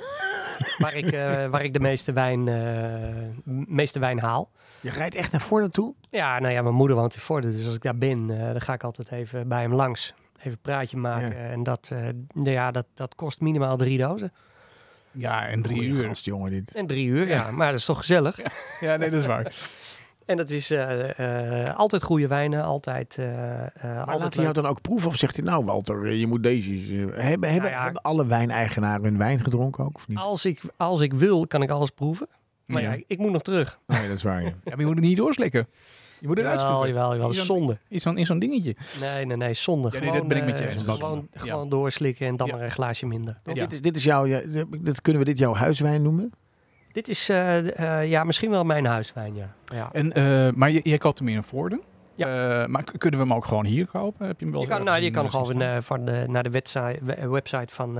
Speaker 3: waar, ik, eh, waar ik de meeste wijn, eh, m- meeste wijn haal.
Speaker 1: Je rijdt echt naar voren toe?
Speaker 3: Ja, nou ja, mijn moeder woont in Vorden. Dus als ik daar ben, eh, dan ga ik altijd even bij hem langs. Even een praatje maken.
Speaker 1: Ja.
Speaker 3: En dat, eh, nou ja, dat, dat kost minimaal drie dozen.
Speaker 2: Ja, en drie
Speaker 1: Goeie
Speaker 2: uur.
Speaker 1: Gast, jongen, dit.
Speaker 3: En drie uur, ja. Maar dat is toch gezellig.
Speaker 2: Ja, nee, dat is waar.
Speaker 3: En dat is eh, eh, altijd goede wijnen. Altijd, eh, eh,
Speaker 1: Maar
Speaker 3: altijd
Speaker 1: laat hij jou
Speaker 3: leuk.
Speaker 1: dan ook proeven of zegt hij nou Walter, eh, je moet deze... eens, eh, Hebben, hebben,
Speaker 3: ja.
Speaker 1: hebben alle wijneigenaren hun wijn gedronken ook? Of niet?
Speaker 3: Als ik, als ik wil, kan ik alles proeven. Maar ja,
Speaker 1: Ja.
Speaker 3: ik moet nog terug.
Speaker 1: Nee, dat is waar. ja.
Speaker 2: Ja, maar je moet het niet doorslikken. Je moet eruit
Speaker 3: Jawel,
Speaker 2: schieten.
Speaker 3: jawel, Nou, jawel.
Speaker 2: Is dat-
Speaker 3: Zonde.
Speaker 2: Is dan in zo'n dingetje.
Speaker 3: Nee, nee, nee. Zonde.
Speaker 2: Ja, nee,
Speaker 3: gewoon,
Speaker 2: dat ben ik met je
Speaker 3: eh,
Speaker 2: eens.
Speaker 3: Gewoon,
Speaker 2: Ja.
Speaker 3: gewoon doorslikken en dan
Speaker 2: Ja.
Speaker 3: maar een glaasje minder.
Speaker 1: Want
Speaker 2: Ja.
Speaker 1: Dit, is, dit is jouw... ja, dit, kunnen we dit jouw huiswijn noemen?
Speaker 3: Dit is eh, eh, ja, misschien wel mijn huiswijn, ja. ja.
Speaker 2: En, eh, maar je- jij koopt hem in Vorden. Ja. maar k- kunnen we hem ook gewoon hier kopen? Heb je hem wel
Speaker 3: Je kan,
Speaker 2: ergens
Speaker 3: nou, je
Speaker 2: in,
Speaker 3: kan
Speaker 2: eh, zien
Speaker 3: gewoon
Speaker 2: staan?
Speaker 3: eh, van de, naar de website, we- eh, website van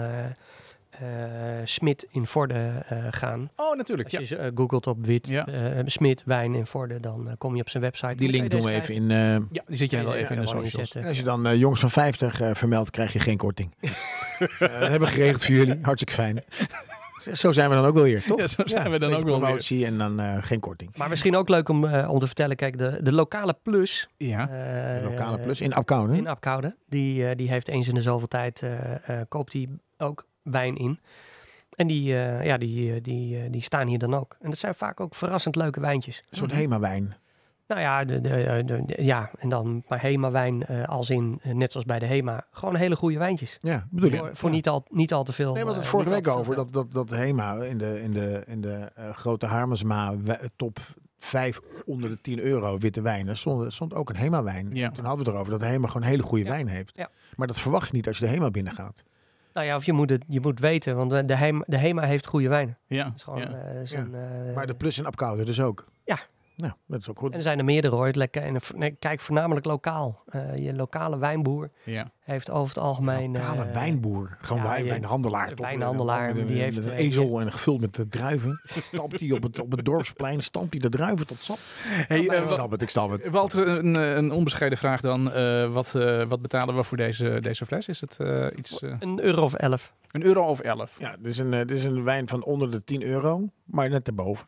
Speaker 3: eh, eh, Smit in Vorden eh, gaan.
Speaker 2: Oh, natuurlijk.
Speaker 3: Als
Speaker 2: Ja.
Speaker 3: je eh, googelt op wit
Speaker 2: Ja.
Speaker 3: eh, Smit, wijn in Vorden, dan eh, kom je dus op zijn website.
Speaker 1: Die link doen we even in... eh,
Speaker 2: ja, die zit jij wel even in de socials.
Speaker 1: en als je dan eh, jongens van 50 eh, vermeldt, krijg je geen korting. Eh, dat hebben we geregeld voor jullie. Hartstikke fijn. Zo zijn we dan ook wel weer, toch?
Speaker 2: Ja, zo zijn we dan
Speaker 1: beetje
Speaker 2: ook wel weer.
Speaker 1: promotie en dan eh, geen korting.
Speaker 3: Maar misschien ook leuk om, eh, om te vertellen, kijk, de, de lokale plus.
Speaker 2: Ja.
Speaker 1: De
Speaker 3: eh,
Speaker 1: lokale plus in Apeldoorn. hè?
Speaker 3: In Apkoude. Die, eh, die heeft eens in de zoveel tijd, eh, eh, koopt hij ook wijn in. En die, eh, ja, die, eh, die, eh, die staan hier dan ook. En dat zijn vaak ook verrassend leuke wijntjes.
Speaker 1: Een soort Hema-wijn.
Speaker 3: Nou ja, de, de, eh, de- de- ja en dan maar Hema-wijn eh, als in, eh, net zoals bij de Hema, gewoon hele goede wijntjes.
Speaker 1: Ja, bedoel ik.
Speaker 3: Voor, voor
Speaker 1: Ja.
Speaker 3: niet, al, niet al te
Speaker 1: Nee,
Speaker 3: veel.
Speaker 1: we hadden het
Speaker 3: eh,
Speaker 1: vorige
Speaker 3: niet
Speaker 1: week
Speaker 3: al te
Speaker 1: over
Speaker 3: veel
Speaker 1: dat, dat, dat HEMA in de, in de, in de eh, grote Harmersma we- top 5 onder de 10 euro witte wijnen stond, stond ook een HEMA-wijn.
Speaker 2: Ja.
Speaker 1: Toen hadden we het erover dat HEMA gewoon hele goede
Speaker 3: Ja.
Speaker 1: wijn heeft.
Speaker 3: Ja.
Speaker 1: Maar dat verwacht je niet als je de HEMA binnengaat.
Speaker 3: geld. Nou ja, of je moet, het, je moet weten, want de Hema, de Hema heeft goede wijnen.
Speaker 2: Ja.
Speaker 3: Dat is gewoon,
Speaker 2: ja.
Speaker 3: eh, zijn, eh,
Speaker 1: Maar de plus en Apkoude dus ook.
Speaker 3: Ja.
Speaker 1: Nou, dat is ook
Speaker 3: En
Speaker 1: goed.
Speaker 3: er zijn er meerdere hoor. Het lekker- En v- nee, kijk voornamelijk lokaal. Eh, je lokale wijnboer
Speaker 2: ja.
Speaker 3: heeft over het algemeen...
Speaker 1: Lokale
Speaker 3: eh,
Speaker 1: wijnboer, gewoon
Speaker 3: ja,
Speaker 1: wijn-
Speaker 3: je-
Speaker 1: wijnhandelaar. toch?
Speaker 3: wijnhandelaar,
Speaker 1: Met een-
Speaker 3: die
Speaker 1: met
Speaker 3: heeft,
Speaker 1: een
Speaker 3: eh,
Speaker 1: ezel en gevuld met de druiven. Stampt hij op het, op het dorpsplein, stampt hij de druiven tot sap.
Speaker 2: Hey, eh,
Speaker 1: Ik
Speaker 2: Wa-
Speaker 1: snap het, ik snap het.
Speaker 2: Walter, een, eh, een onbescheiden vraag dan. Eh, wat, eh, wat betalen we voor deze, deze fles? Is het eh, iets, eh,
Speaker 3: Een euro of elf.
Speaker 2: een euro of elf?
Speaker 1: Ja, dit is, een, eh, dit is een wijn van onder de 10 euro, maar net erboven.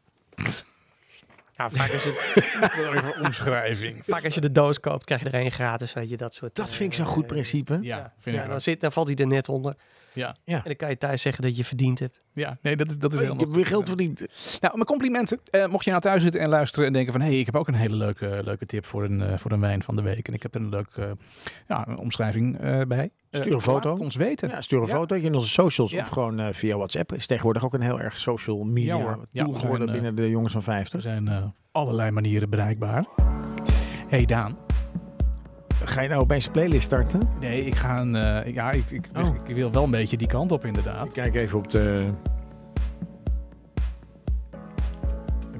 Speaker 3: Ja, vaak, als je,
Speaker 2: Even omschrijving.
Speaker 3: vaak als je de doos koopt, krijg je er één gratis. Weet je, dat soort,
Speaker 1: Dat
Speaker 3: eh,
Speaker 1: vind ik zo'n goed
Speaker 3: eh,
Speaker 1: principe.
Speaker 2: Ja,
Speaker 3: Ja.
Speaker 2: vind
Speaker 3: ja,
Speaker 2: ik
Speaker 3: dan,
Speaker 2: ook.
Speaker 3: zit, dan valt hij er net onder.
Speaker 2: Ja.
Speaker 1: Ja.
Speaker 3: En dan kan je thuis zeggen dat je verdiend hebt.
Speaker 2: ja, nee, dat is, dat is
Speaker 1: Oh, ik
Speaker 2: helemaal
Speaker 1: heb weer geld verdiend.
Speaker 2: Nou, mijn complimenten. Eh, mocht je nou thuis zitten en luisteren en denken van... hé, hey, ik heb ook een hele leuke, leuke tip voor een, eh, voor een wijn van de week. En ik heb er een leuke eh, ja, een omschrijving eh, bij. Eh,
Speaker 1: Stuur een foto.
Speaker 2: Laat het ons weten.
Speaker 1: Ja, stuur een
Speaker 2: Ja.
Speaker 1: fotootje in onze socials
Speaker 2: Ja.
Speaker 1: of gewoon eh, via WhatsApp. Is tegenwoordig ook een heel erg social media
Speaker 2: Ja, hoor.
Speaker 1: tool
Speaker 2: Ja, we zijn,
Speaker 1: geworden
Speaker 2: eh,
Speaker 1: binnen de jongens van 50.
Speaker 2: Er zijn eh, allerlei manieren bereikbaar. hey Daan.
Speaker 1: Ga je nou opeens een playlist starten?
Speaker 2: Nee, ik ga een... eh, ja, ik, ik,
Speaker 1: Oh.
Speaker 2: ik wil wel een beetje die kant op inderdaad.
Speaker 1: Ik kijk even op de...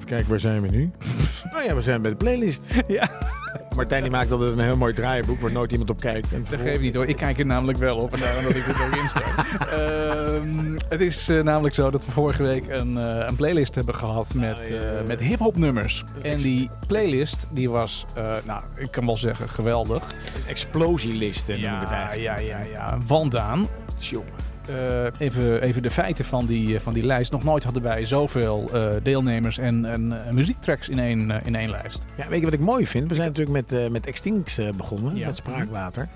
Speaker 1: Kijk, waar zijn we nu? nou ja, we zijn bij de playlist.
Speaker 2: Ja,
Speaker 1: Martijn die maakt altijd een heel mooi draaienboek waar nooit iemand op kijkt. En
Speaker 2: dat geeft niet hoor. Ik kijk er namelijk wel op en daarom dat ik er ook in sta. Ehm, het is eh, namelijk zo dat we vorige week een, eh, een playlist hebben gehad met,
Speaker 1: Ah, ja, ja,
Speaker 2: eh,
Speaker 1: ja.
Speaker 2: met hip-hop nummers. En die playlist die was, eh, nou, ik kan wel zeggen, geweldig.
Speaker 1: Explosielisten noem ik het
Speaker 2: ja,
Speaker 1: eigenlijk.
Speaker 2: ja, ja, ja. Want Daan,
Speaker 1: Jongen.
Speaker 2: Eh, even, even de feiten van die, eh, van die lijst. Nog nooit hadden wij zoveel eh, deelnemers en, en eh, muziektracks in één, eh, in één lijst.
Speaker 1: Ja, weet je wat ik mooi vind? We zijn natuurlijk met, eh met Extincts eh, begonnen,
Speaker 2: Ja.
Speaker 1: met Spraakwater.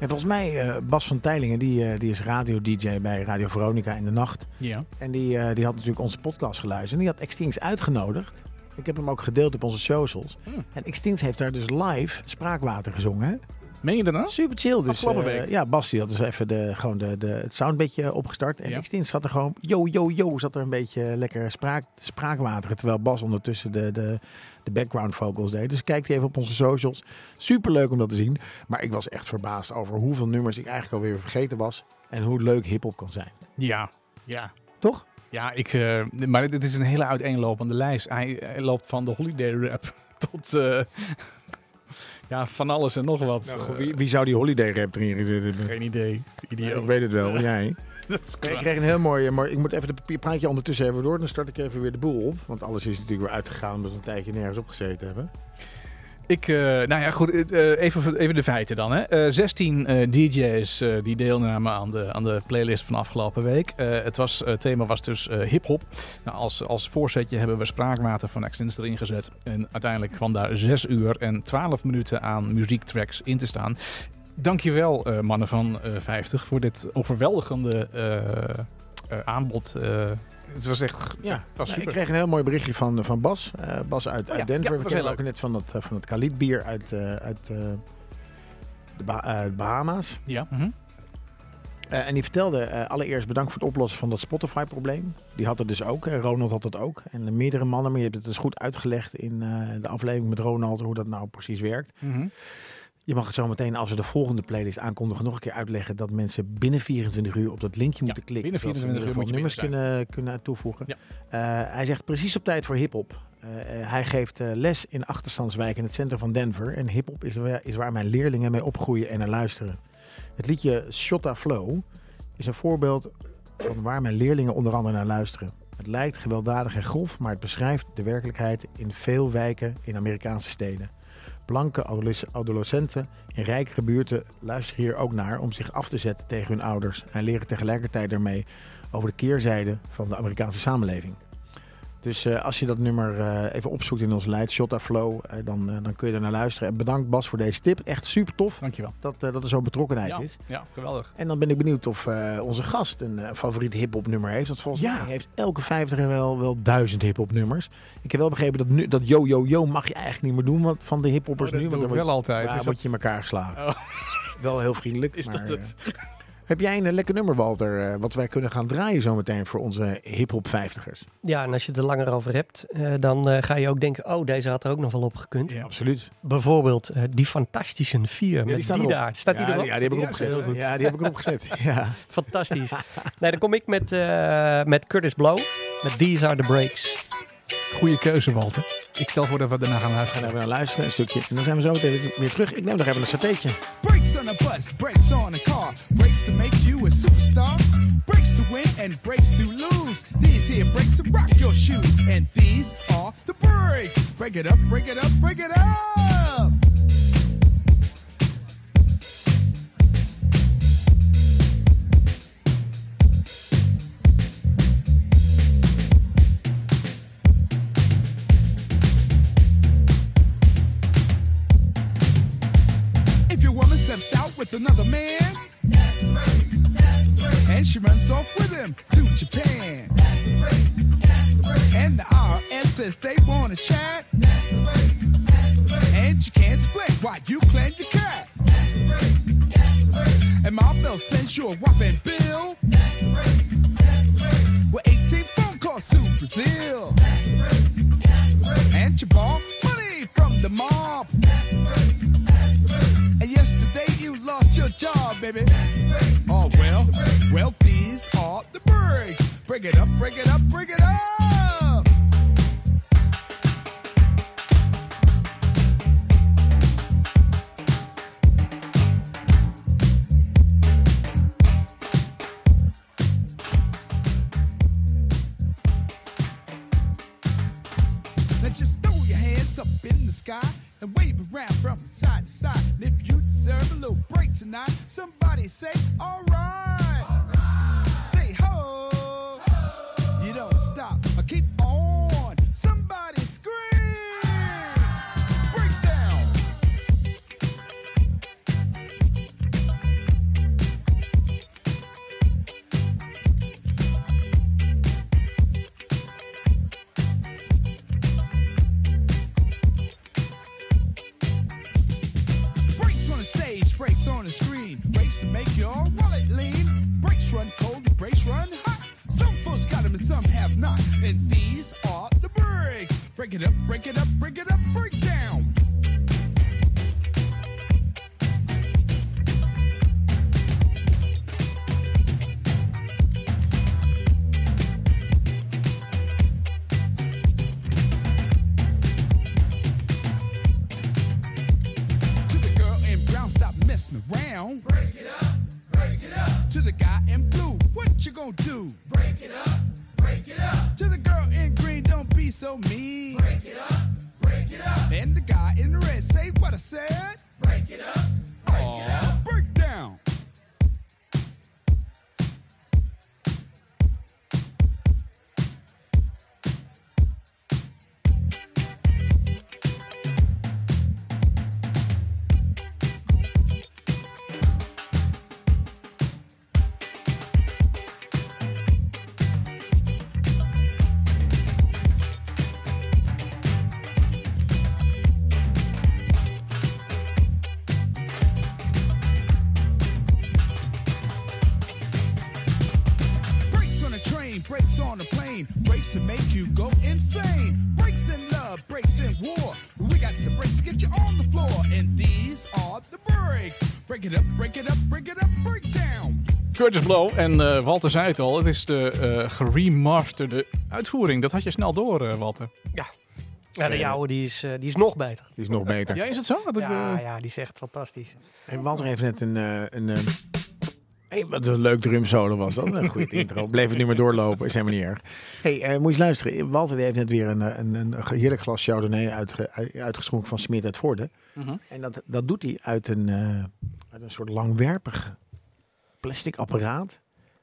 Speaker 1: En volgens mij, eh, Bas van Teilingen, die, eh, die is radio-dj bij Radio Veronica in de nacht.
Speaker 2: Ja.
Speaker 1: En die, eh, die had natuurlijk onze podcast geluisterd. En die had Extincts uitgenodigd. Ik heb hem ook gedeeld op onze socials.
Speaker 2: Hmm.
Speaker 1: En Extincts heeft daar dus live Spraakwater gezongen. hè?
Speaker 2: Meen je dat nou?
Speaker 1: Super chill. Dus,
Speaker 2: Afgelopen
Speaker 1: eh,
Speaker 2: week.
Speaker 1: ja, Bas die had dus even de, gewoon de, de, het soundbedje opgestart. En
Speaker 2: Ja.
Speaker 1: ja. Extincts zat er gewoon, yo, yo, yo, zat er een beetje lekker spraak, spraakwater. Terwijl Bas ondertussen de, de, de background vocals deed. Dus kijk die even op onze socials. Super leuk om dat te zien. Maar ik was echt verbaasd over hoeveel nummers ik eigenlijk alweer vergeten was. En hoe leuk hiphop kan zijn.
Speaker 2: Ja. Ja.
Speaker 1: Toch?
Speaker 2: Ja, ik, eh, maar dit is een hele uiteenlopende lijst. Hij, hij loopt van de holiday rap tot eh, ja, van alles en nog wat.
Speaker 1: wie, wie zou die holiday rap erin gezet
Speaker 2: Eh,
Speaker 1: hebben?
Speaker 2: geen idee. Idioot.
Speaker 1: ik weet het wel, jij.
Speaker 2: dat is
Speaker 1: Ik
Speaker 2: kwaad.
Speaker 1: kreeg een heel mooi, maar ik moet even de papierpraatje ondertussen even door. Dan start ik even weer de boel op. Want alles is natuurlijk weer uitgegaan omdat we een tijdje nergens op gezeten hebben.
Speaker 2: Ik, eh, nou ja, goed, het, eh, even, even de feiten dan. Hè. Eh, 16 eh, DJ's eh, die deelnamen aan de, aan de playlist van afgelopen week. Eh, het was, eh, thema was dus eh, hip-hop. Nou, als, als voorzetje hebben we spraakwater van Extins erin gezet. En uiteindelijk kwam daar 6 uur en 12 minuten aan muziektracks in te staan. Dankjewel, eh mannen van eh 50, voor dit overweldigende eh, eh, aanbod. Eh, het was echt.
Speaker 1: Ja, nou,
Speaker 2: was super. Oh
Speaker 1: ik kreeg een heel mooi berichtje van, van Bas. Eh, Bas uit,
Speaker 2: ja,
Speaker 1: uit
Speaker 2: ja,
Speaker 1: Denver.
Speaker 2: was
Speaker 1: We
Speaker 2: heel
Speaker 1: kennen ook
Speaker 2: leuk.
Speaker 1: net van dat, eh, van dat Khalid-bier uit, eh, uit eh, de Ba- eh, Bahama's.
Speaker 2: Ja. mhm.
Speaker 1: Eh, en die vertelde eh, allereerst bedankt voor het oplossen van dat Spotify-probleem. Die had het dus ook. eh, Ronald had het ook. En eh, meerdere mannen. Maar je hebt het dus goed uitgelegd in eh, de aflevering met Ronald hoe dat nou precies werkt.
Speaker 2: Mhm.
Speaker 1: Je mag het zo meteen, als we de volgende playlist aankondigen, nog een keer uitleggen dat mensen binnen 24 uur op dat linkje moeten klikken.
Speaker 2: binnen
Speaker 1: zodat ze in
Speaker 2: 24
Speaker 1: ieder
Speaker 2: uur
Speaker 1: geval
Speaker 2: moet je binnen
Speaker 1: nummers kunnen, kunnen toevoegen. Eh, hij zegt precies op tijd voor hip-hop. Eh, eh, hij geeft eh, les in achterstandswijk in het centrum van Denver. En hip-hop is, wa- is waar mijn leerlingen mee opgroeien en naar luisteren. Het liedje Shotta Flow is een voorbeeld van waar mijn leerlingen onder andere naar luisteren. Het lijkt gewelddadig en grof, maar het beschrijft de werkelijkheid in veel wijken in Amerikaanse steden. Blanke adoles- adolescenten in rijkere buurten luisteren hier ook naar om zich af te zetten tegen hun ouders en leren tegelijkertijd daarmee over de keerzijde van de Amerikaanse samenleving. Dus eh, als je dat nummer eh, even opzoekt in ons lijst, Shotta Flow, eh, dan, eh, dan kun je er naar luisteren. En bedankt Bas voor deze tip. Echt super tof
Speaker 2: Dankjewel.
Speaker 1: dat, eh, dat er zo'n betrokkenheid
Speaker 2: Ja,
Speaker 1: is.
Speaker 2: ja, geweldig.
Speaker 1: En dan ben ik benieuwd of eh, onze gast een eh, favoriet hip-hop nummer heeft. Want volgens
Speaker 2: Ja.
Speaker 1: mij heeft elke vijftiger wel, wel duizend hip-hop nummers. Ik heb wel begrepen dat nu, dat yo yo yo mag je eigenlijk niet meer doen want van de hip-hoppers
Speaker 2: Oh, dat
Speaker 1: nu.
Speaker 2: doe
Speaker 1: Want
Speaker 2: ik wel
Speaker 1: word,
Speaker 2: altijd.
Speaker 1: ja,
Speaker 2: Is
Speaker 1: word
Speaker 2: dat-
Speaker 1: je in elkaar geslagen.
Speaker 2: Oh.
Speaker 1: Wel heel vriendelijk.
Speaker 2: Is
Speaker 1: maar,
Speaker 2: dat het?
Speaker 1: eh, heb jij een eh, lekker nummer, Walter, eh, wat wij kunnen gaan draaien zometeen voor onze hip-hop vijftigers?
Speaker 3: Ja, en als je het er langer over hebt, eh, dan eh, ga je ook denken, oh, deze had er ook nog wel op gekund.
Speaker 2: Ja,
Speaker 1: Absoluut.
Speaker 3: Bijvoorbeeld eh, die Fantastische 4 met
Speaker 1: die staat
Speaker 3: die
Speaker 1: erop.
Speaker 3: daar. Staat
Speaker 1: ja,
Speaker 3: die erop?
Speaker 1: ja, die heb ik
Speaker 2: Ja,
Speaker 1: opgezet.
Speaker 3: heel goed.
Speaker 1: Ja, die heb ik opgezet. Ja.
Speaker 3: Fantastisch. nee, dan kom ik met, eh, met Curtis Blow, met These Are The Breaks.
Speaker 2: eh, Goede keuze, Walter. Ik stel voor dat we daarna gaan
Speaker 1: Gaan we
Speaker 2: luisteren.
Speaker 1: even naar luisteren, een stukje. En dan zijn we zo meteen weer terug. Ik neem nog even een satéetje.
Speaker 5: Brakes on a bus, brakes on a car, brakes to make you a superstar, brakes to win and brakes to lose. These here brakes will rock your shoes, and these are the brakes. Break it up, break it up, break it up. If your woman steps out with another man, and she runs off with him to Japan. And the IRS says they want to chat. And you can't explain why you claim the cat. And my bill sends you a whopping bill. With 18 phone calls to Brazil. And you borrow money from the mob. And yesterday you lost your job, baby. Oh well, well these are the breaks. Break it up, break it up, break it up. Now just throw your hands up in the sky and wave around from side to side. And if you deserve a little break tonight, somebody say, alright. Say ho. You don't stop, I keep on. Somebody scream. Breakdown. Breaks on the stage, breaks on the screen, breaks to make your wallet lean. Breaks run cold, the breaks run hot. Some folks got them and some have not. And these are the breaks. Break it up, break it up, break it up, break down. To the girl in brown, stop messing around. Break it up, break it up. To the guy in blue, what you gonna do? Break it up, break it up. To the girl in green, don't be so mean. Break it up, break it up. And the guy in the red, say what I said. Break it up, break it up. Break down. Brakes on a train, brakes on a plane, brakes to make you go insane. Brakes in love, brakes in war. We got the brakes to get you on the floor, and these are the brakes. Break it up, break it up, break it up, break down.
Speaker 2: Curtis Blow en eh, Walter zei het al, het is de eh, geremasterde uitvoering. Dat had je snel door, eh, Walter.
Speaker 3: Ja, de jouwe die is, eh, die is nog beter.
Speaker 1: Die is nog beter.
Speaker 2: Ja, is het zo? Dat, eh,
Speaker 3: Ja, ja, die is echt fantastisch.
Speaker 1: En Walter heeft net een... eh, een eh, hey, wat een leuk drumsolo was dat. Een goede intro. Bleef het nu maar doorlopen. Is helemaal niet erg. hey, eh, moet je eens luisteren. Walter die heeft net weer een, eh, een, een heerlijk glas Chardonnay uitge, uitgeschonken van Smit uit Voorde.
Speaker 2: Mhm.
Speaker 1: En dat, dat doet hij uit een, eh, uit een soort langwerpig plastic apparaat.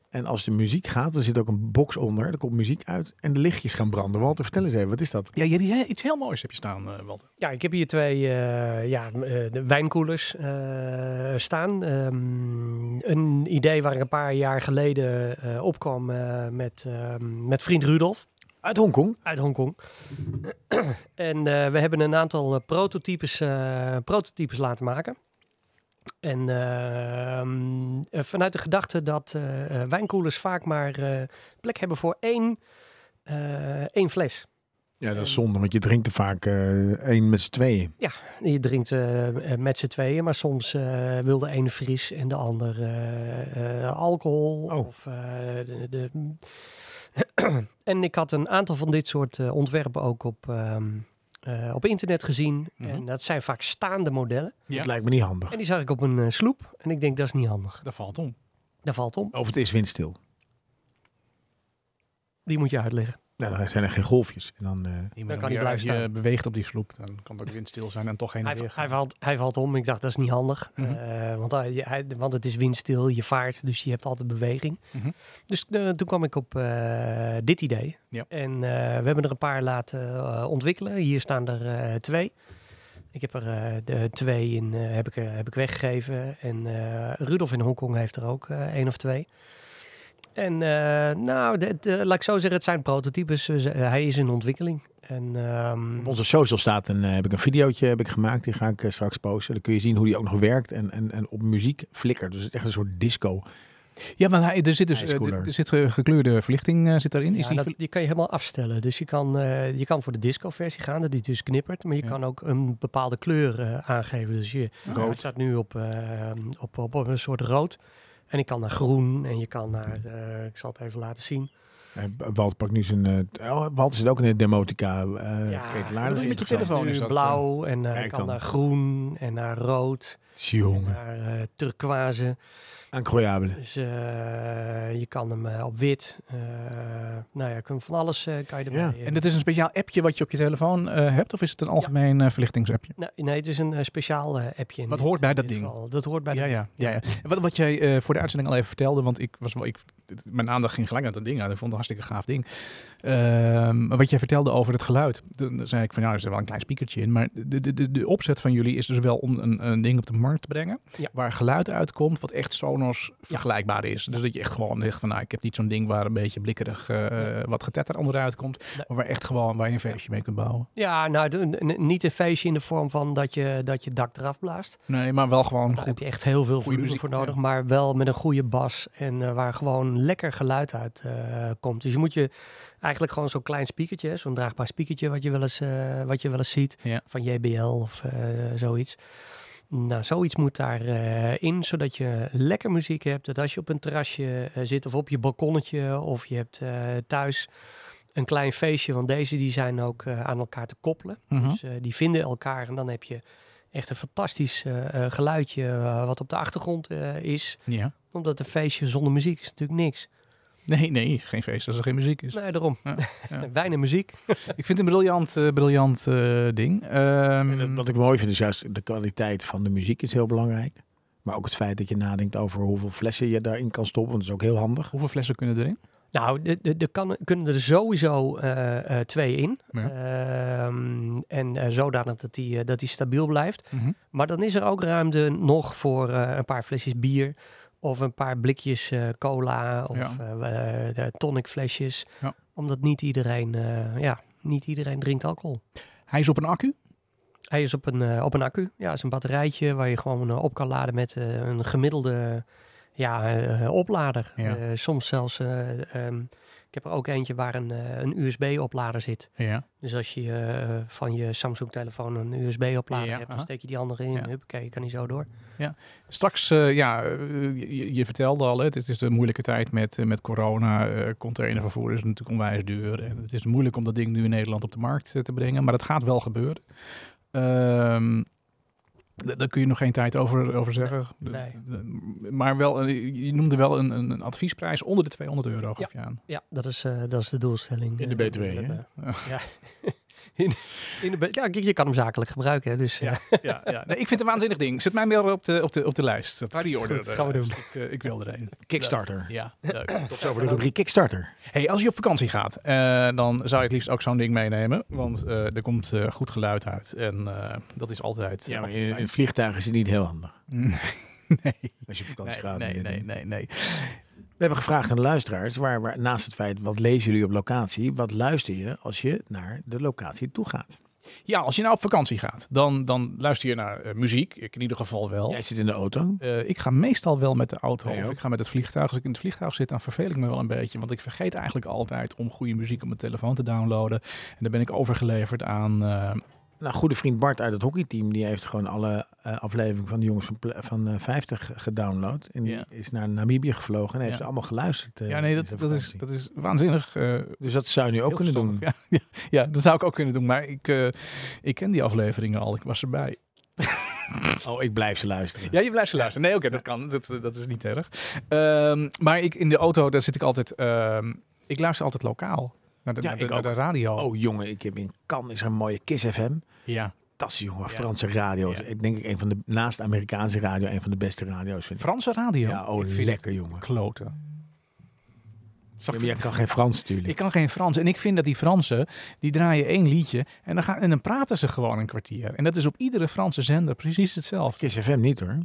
Speaker 1: En als de muziek gaat, er zit ook een box onder. Er komt muziek uit en de lichtjes gaan branden. Walter, vertel eens even, wat is dat?
Speaker 2: Ja, hier- hier- iets heel moois heb je staan, eh, Walter.
Speaker 3: Ja, ik heb hier twee eh, ja, m- eh, de wijnkoelers eh, staan. Ehm, een idee waar ik een paar jaar geleden eh, opkwam eh, met, ehm, met vriend Rudolf
Speaker 1: Uit Hongkong.
Speaker 3: uit Hongkong. en eh, we hebben een aantal eh, prototypes, eh, prototypes laten maken. En ehm, eh, vanuit de gedachte dat eh, eh, wijnkoelers vaak maar eh, plek hebben voor één, eh, één fles.
Speaker 1: Ja, dat is zonde, want je drinkt er vaak eh, één met z'n tweeën.
Speaker 3: Je drinkt eh, eh, met z'n tweeën, maar soms eh, wil de ene fris en de ander eh, eh, alcohol.
Speaker 1: Oh.
Speaker 3: Of, eh, de, de- en ik had een aantal van dit soort eh, ontwerpen ook op, ehm, eh, op internet gezien.
Speaker 2: Mhm.
Speaker 3: En dat zijn vaak staande modellen.
Speaker 2: Ja.
Speaker 1: Dat lijkt me niet handig.
Speaker 3: En die zag ik op een eh, sloep. En ik denk, dat is niet handig.
Speaker 2: Dat valt om.
Speaker 3: Daar valt om.
Speaker 1: Of het is windstil.
Speaker 3: Die moet je uitleggen.
Speaker 1: Nou, dan zijn er geen golfjes. En dan, eh,
Speaker 3: Dan kan hij blijven
Speaker 2: Als je
Speaker 3: staan.
Speaker 2: beweegt op die sloep, dan kan het ook windstil zijn en toch geen
Speaker 3: Hij,
Speaker 2: weer.
Speaker 3: hij, valt, hij valt om. Ik dacht, dat is niet handig.
Speaker 2: Mhm.
Speaker 3: Eh, want, hij, hij- want het is windstil, je vaart, dus je hebt altijd beweging.
Speaker 2: Mhm.
Speaker 3: Dus eh, toen kwam ik op eh, dit idee.
Speaker 2: Ja.
Speaker 3: En eh, we hebben er een paar laten eh, ontwikkelen. Hier staan er eh, twee. Ik heb er eh, de twee in, eh, heb ik, eh, heb ik weggegeven. En eh, Rudolf in Hongkong heeft er ook eh, één of twee. En eh, nou, de- de- laat ik zo zeggen, het zijn prototypes. Dus, eh, hij is in ontwikkeling. En,
Speaker 2: Hmm.
Speaker 3: ehm,
Speaker 1: op onze social staat een, eh, heb ik een videootje heb ik gemaakt. Die ga ik eh, straks posten. Dan kun je zien hoe die ook nog werkt en, en, en op muziek flikkert. Dus het is echt een soort disco.
Speaker 2: Oh, Ja, maar hij, er zit dus
Speaker 1: Hij is
Speaker 2: eh,
Speaker 1: cooler.
Speaker 2: er zit eh, gekleurde verlichting eh, zit daarin.
Speaker 3: Ja,
Speaker 2: is die
Speaker 3: dat-
Speaker 2: verli-
Speaker 3: die kan je helemaal afstellen. Dus je kan, eh, je kan voor de disco-versie gaan, dat die dus knippert. Maar je
Speaker 2: Ja.
Speaker 3: kan ook een bepaalde kleur eh, aangeven. Dus je
Speaker 1: Rood.
Speaker 3: het staat nu op, eh, op, op, op een soort rood. En ik kan naar groen en je kan naar... eh, ik zal het even laten zien.
Speaker 1: Eh, Walt pakt nu zijn... eh, oh, Walt zit ook in de demotica. eh
Speaker 3: Ja,
Speaker 1: ketelaar. Dat is
Speaker 2: dat is met je
Speaker 1: interessant.
Speaker 2: telefoon.
Speaker 3: nu
Speaker 2: is dat,
Speaker 3: blauw en eh,
Speaker 1: Kijk
Speaker 3: ik kan
Speaker 1: dan.
Speaker 3: naar groen en naar rood.
Speaker 1: Jongen.
Speaker 3: Naar eh turquoise.
Speaker 1: Incroyable.
Speaker 3: Dus eh, je kan hem eh, op wit. eh, nou ja, kun van alles eh, kan je erbij.
Speaker 1: Ja.
Speaker 3: eh.
Speaker 2: En dit is een speciaal appje wat je op je telefoon eh, hebt? Of is het een algemeen eh, verlichtingsappje?
Speaker 3: Nou, nee, het is een eh, speciaal eh, appje. in
Speaker 2: Wat
Speaker 3: dit-
Speaker 2: hoort bij
Speaker 3: in
Speaker 2: dat
Speaker 3: dit
Speaker 2: ding?
Speaker 3: geval. Dat hoort bij
Speaker 2: Ja,
Speaker 3: dat
Speaker 2: ja, ja, ja. En Wat, wat jij eh, voor de uitzending al even vertelde, want ik was wel, ik, dit- mijn aandacht ging gelijk naar dat ding uit. Ik vond het een hartstikke gaaf ding. Ehm, maar wat jij vertelde over het geluid, toen zei ik van ja, er zit wel een klein speakertje in. Maar de, de, de, de opzet van jullie is dus wel om een, een ding op de markt te brengen,
Speaker 3: Ja.
Speaker 2: waar geluid uitkomt wat echt Sonos vergelijkbaar is. Dus dat je echt gewoon zegt van nou, ik heb niet zo'n ding waar een beetje blikkerig eh, wat getetter onderuit komt,
Speaker 3: Nee.
Speaker 2: maar waar echt gewoon waar je een feestje mee kunt bouwen.
Speaker 3: Ja, nou, de- n- n- niet een feestje in de vorm van dat je, dat je dak eraf blaast.
Speaker 2: Nee, maar wel gewoon
Speaker 3: Daar
Speaker 2: goed.
Speaker 3: heb je echt heel veel volume
Speaker 2: muziek,
Speaker 3: voor
Speaker 2: ja.
Speaker 3: nodig, maar wel met een goede bas en eh, waar gewoon lekker geluid uit eh, komt. Dus je moet je eigenlijk gewoon zo'n klein speakertje, hè, zo'n draagbaar speakertje wat je wel eens, eh, wat je wel eens ziet,
Speaker 2: Ja.
Speaker 3: van JBL of eh, zoiets. Nou, zoiets moet daar eh, in, zodat je lekker muziek hebt. Dat als je op een terrasje eh, zit of op je balkonnetje of je hebt eh, thuis een klein feestje, want deze die zijn ook eh, aan elkaar te koppelen.
Speaker 2: Mhm.
Speaker 3: Dus eh, die vinden elkaar en dan heb je echt een fantastisch eh, eh, geluidje eh, wat op de achtergrond eh, is.
Speaker 2: Ja.
Speaker 3: Omdat een feestje zonder muziek is natuurlijk niks.
Speaker 2: Nee, nee, geen feest als er geen muziek is.
Speaker 3: Nee, daarom.
Speaker 2: Dus- Ja, ja.
Speaker 3: Weinig muziek.
Speaker 2: Ik vind het een briljant, eh, briljant eh, ding. Ehm,
Speaker 1: En dat- wat ik mooi vind is juist de kwaliteit van de muziek is heel belangrijk. Maar ook het feit dat je nadenkt over hoeveel flessen je daarin kan stoppen. Want dat is ook heel handig.
Speaker 2: hoeveel flessen kunnen erin?
Speaker 3: Nou, de- de- de kan- kunnen er sowieso eh, eh, twee in.
Speaker 2: Ja.
Speaker 3: Ehm, en eh, zodanig dat die, eh, dat die stabiel blijft.
Speaker 2: Mhm.
Speaker 3: Maar dan is er ook ruimte nog voor eh, een paar flesjes bier. Of een paar blikjes eh, cola. Of
Speaker 2: Ja.
Speaker 3: eh, eh, de tonicflesjes.
Speaker 2: Ja.
Speaker 3: Omdat niet iedereen, eh, ja, niet iedereen drinkt alcohol.
Speaker 2: Hij is op een accu.
Speaker 3: Hij is op een, eh, op een accu. Ja, is een batterijtje waar je gewoon eh, op kan laden met eh, een gemiddelde ja, eh, oplader.
Speaker 2: Ja.
Speaker 3: Eh, soms zelfs, eh, ehm, ik heb er ook eentje waar een, eh, een USB-oplader zit.
Speaker 2: Ja.
Speaker 3: Dus als je eh, van je Samsung-telefoon een USB-oplader
Speaker 2: Ja,
Speaker 3: hebt, dan
Speaker 2: aha.
Speaker 3: steek je die andere in.
Speaker 2: Ja.
Speaker 3: Huppakee, je kan die zo door.
Speaker 2: Straks, eh, ja, eh, je, je vertelde al, hè, het is een moeilijke tijd met, eh, met corona. Eh, containervervoer is natuurlijk onwijs duur. En het is moeilijk om dat ding nu in Nederland op de markt eh, te brengen. Maar dat gaat wel gebeuren. Ehm, d- daar kun je nog geen tijd over, over zeggen.
Speaker 3: Nee.
Speaker 2: D- d- Maar wel, eh, je noemde wel een, een een adviesprijs onder de 200 euro, gaf je aan.
Speaker 3: Ja, dat is, eh, dat is de doelstelling.
Speaker 1: In de
Speaker 3: eh,
Speaker 1: BTW, hè?
Speaker 3: dat, eh, Ja. in, in de, B- ja, kijk, je kan hem zakelijk gebruiken. hè, Dus, eh,
Speaker 2: ja, ja. Nee, ik vind het een waanzinnig ding. Zet mij meer op de, op de, op de lijst. Dat
Speaker 3: Hartstikke
Speaker 2: pre-order,
Speaker 3: goed,
Speaker 2: eh,
Speaker 3: gaan we doen.
Speaker 2: lijst. Ik, eh, ik wil er een.
Speaker 1: Kickstarter.
Speaker 2: Ja, leuk.
Speaker 1: Tot zover de rubriek Kickstarter.
Speaker 2: Hey, als je op vakantie gaat, eh, dan zou je het liefst ook zo'n ding meenemen. Want eh, er komt eh, goed geluid uit. En eh, dat is altijd...
Speaker 1: Ja, maar
Speaker 2: altijd
Speaker 1: in, in
Speaker 2: fijn.
Speaker 1: het vliegtuig is het niet heel handig.
Speaker 2: nee,
Speaker 1: Als je op vakantie eh,
Speaker 2: nee,
Speaker 1: gaat.
Speaker 2: nee,
Speaker 1: en je
Speaker 2: nee,
Speaker 1: denkt-
Speaker 2: nee, nee.
Speaker 1: We hebben gevraagd aan de luisteraars, waar, waar, naast het feit wat lezen jullie op locatie, wat luister je als je naar de locatie toe gaat?
Speaker 2: Ja, als je nou op vakantie gaat, dan, dan luister je naar eh, muziek. Ik in ieder geval wel.
Speaker 1: Jij zit in de auto.
Speaker 2: Eh, ik ga meestal wel met de auto
Speaker 1: Nee,
Speaker 2: of
Speaker 1: ook.
Speaker 2: ik ga met het vliegtuig. Als ik in het vliegtuig zit, dan verveel ik me wel een beetje. Want ik vergeet eigenlijk altijd om goede muziek op mijn telefoon te downloaden. En dan ben ik overgeleverd aan... eh,
Speaker 1: Nou, goede vriend Bart uit het hockeyteam, die heeft gewoon alle eh, afleveringen van de jongens van, Ple- van eh, 50 gedownload. En die
Speaker 2: Ja.
Speaker 1: is naar Namibië gevlogen en heeft
Speaker 2: Ja.
Speaker 1: ze allemaal geluisterd. eh,
Speaker 2: ja, nee,
Speaker 1: in
Speaker 2: dat,
Speaker 1: zijn
Speaker 2: dat, is,
Speaker 1: vakantie.
Speaker 2: dat is waanzinnig eh,
Speaker 1: Dus dat zou je nu ook
Speaker 2: Heel
Speaker 1: kunnen doen.
Speaker 2: verstandig, Ja, ja, ja, dat zou ik ook kunnen doen. Maar ik, eh, ik ken die afleveringen al. Ik was erbij.
Speaker 1: Oh, ik blijf ze luisteren.
Speaker 2: Ja, je blijft ze luisteren. Nee, oké, dat kan. Dat, dat is niet erg. Ehm, maar ik, in de auto, daar zit ik altijd... ehm, ik luister altijd lokaal. Naar de,
Speaker 1: Ja,
Speaker 2: naar de,
Speaker 1: ik
Speaker 2: naar de
Speaker 1: ook.
Speaker 2: radio.
Speaker 1: Oh jongen, ik heb in Cannes is er een mooie Kiss FM.
Speaker 2: Ja.
Speaker 1: Fantastisch jongen,
Speaker 2: Ja.
Speaker 1: Franse radio.
Speaker 2: Ja.
Speaker 1: Ik denk ik een van de, naast Amerikaanse radio, een van de beste radio's vind ik.
Speaker 2: Franse radio.
Speaker 1: Ja, oh
Speaker 2: ik vind
Speaker 1: lekker jongen.
Speaker 2: het kloten.
Speaker 1: Ja,
Speaker 2: Zag
Speaker 1: maar
Speaker 2: je-
Speaker 1: jij kan geen Frans natuurlijk.
Speaker 2: Ik kan geen Frans. En ik vind dat die Fransen, die draaien één liedje en dan, gaan, en dan praten ze gewoon een kwartier. En dat is op iedere Franse zender precies hetzelfde.
Speaker 1: Kiss FM niet hoor.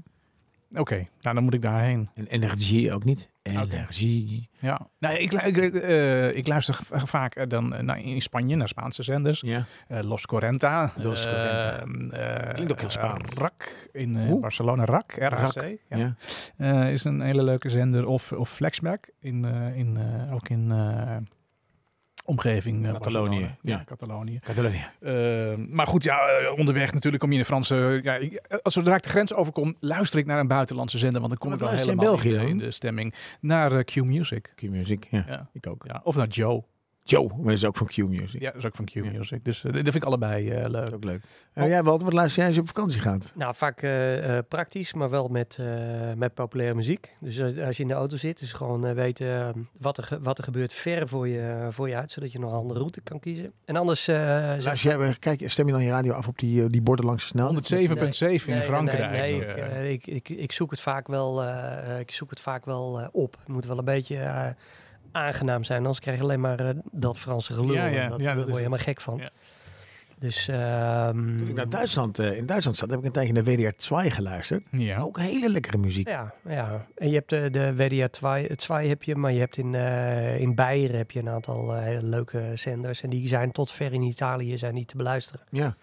Speaker 2: Oké, nou dan moet ik daarheen.
Speaker 1: En energie ook niet. Energie.
Speaker 2: Ja, nou, ik, lu- ik, eh, ik luister v- vaak eh, dan eh, naar, in Spanje naar Spaanse zenders.
Speaker 1: Ja.
Speaker 2: Eh, Los Correnta.
Speaker 1: Los Correnta.
Speaker 2: eh, eh,
Speaker 1: Klinkt ook heel Spaans.
Speaker 2: RAC in eh,
Speaker 1: Hoe?
Speaker 2: Barcelona. RAC, RAC.
Speaker 1: RAC,
Speaker 2: Ja.
Speaker 1: Ja.
Speaker 2: Eh, is een hele leuke zender. Of, of Flexback, in, eh, in, eh, ook in eh, omgeving eh,
Speaker 1: Catalonië,
Speaker 2: Barcelona. Ja,
Speaker 1: ja.
Speaker 2: Catalonië.
Speaker 1: Catalonia.
Speaker 2: Eh, maar goed, ja, eh, onderweg natuurlijk kom je in de Franse... Ja, ik- eh, als zodra ik de grens overkom, luister ik naar een buitenlandse zender. Want dan kom
Speaker 1: Wat
Speaker 2: ik al
Speaker 1: luister je in
Speaker 2: helemaal in,
Speaker 1: België
Speaker 2: de- in
Speaker 1: dan?
Speaker 2: de stemming. Naar eh, Q-Music.
Speaker 1: Q-music. Ja.
Speaker 2: Ja.
Speaker 1: Ik ook.
Speaker 2: Ja, of naar Joe.
Speaker 1: Joe, maar is ook van Q-Music.
Speaker 2: Ja, dat is ook van Q-Music. Dus eh, dat vind ik allebei eh,
Speaker 1: Dat
Speaker 2: leuk.
Speaker 1: is ook leuk. En jij, Walter, wat luister jij als je op vakantie gaat?
Speaker 3: Nou, vaak eh, eh, praktisch, maar wel met, eh, met populaire muziek. Dus als, als je in de auto zit, is gewoon eh, weten eh, wat, er, ge- wat er gebeurt ver voor je, voor je uit, zodat je nog een andere route kan kiezen. En anders... eh, zeg-
Speaker 1: Als jij, kijk, stem je dan je radio af op die, eh, die borden langs de snelweg?
Speaker 2: 107.7
Speaker 3: Nee,
Speaker 2: in
Speaker 3: nee,
Speaker 2: Frankrijk.
Speaker 3: Nee, nee,
Speaker 2: eh.
Speaker 3: ik, eh, ik, ik, ik zoek het vaak wel, eh, ik zoek het vaak wel eh, op. Het moet wel een beetje eh, aangenaam zijn, anders krijg je alleen maar eh, dat Franse gelul.
Speaker 2: Ja, ja,
Speaker 3: En dat,
Speaker 2: ja, dat
Speaker 3: daar
Speaker 2: is
Speaker 3: word je
Speaker 2: het.
Speaker 3: helemaal gek van.
Speaker 2: Ja.
Speaker 3: Dus... ehm,
Speaker 1: Toen ik naar Duitsland, eh, in Duitsland zat, heb ik een tijdje naar WDR 2 geluisterd.
Speaker 2: ja.
Speaker 1: Ook hele lekkere muziek.
Speaker 3: Ja, ja, en je hebt de, de WDR 2, 2 heb je, maar je hebt in, eh, in Beieren heb je een aantal eh, hele leuke zenders. En die zijn tot ver in Italië zijn niet te beluisteren.
Speaker 1: Ja.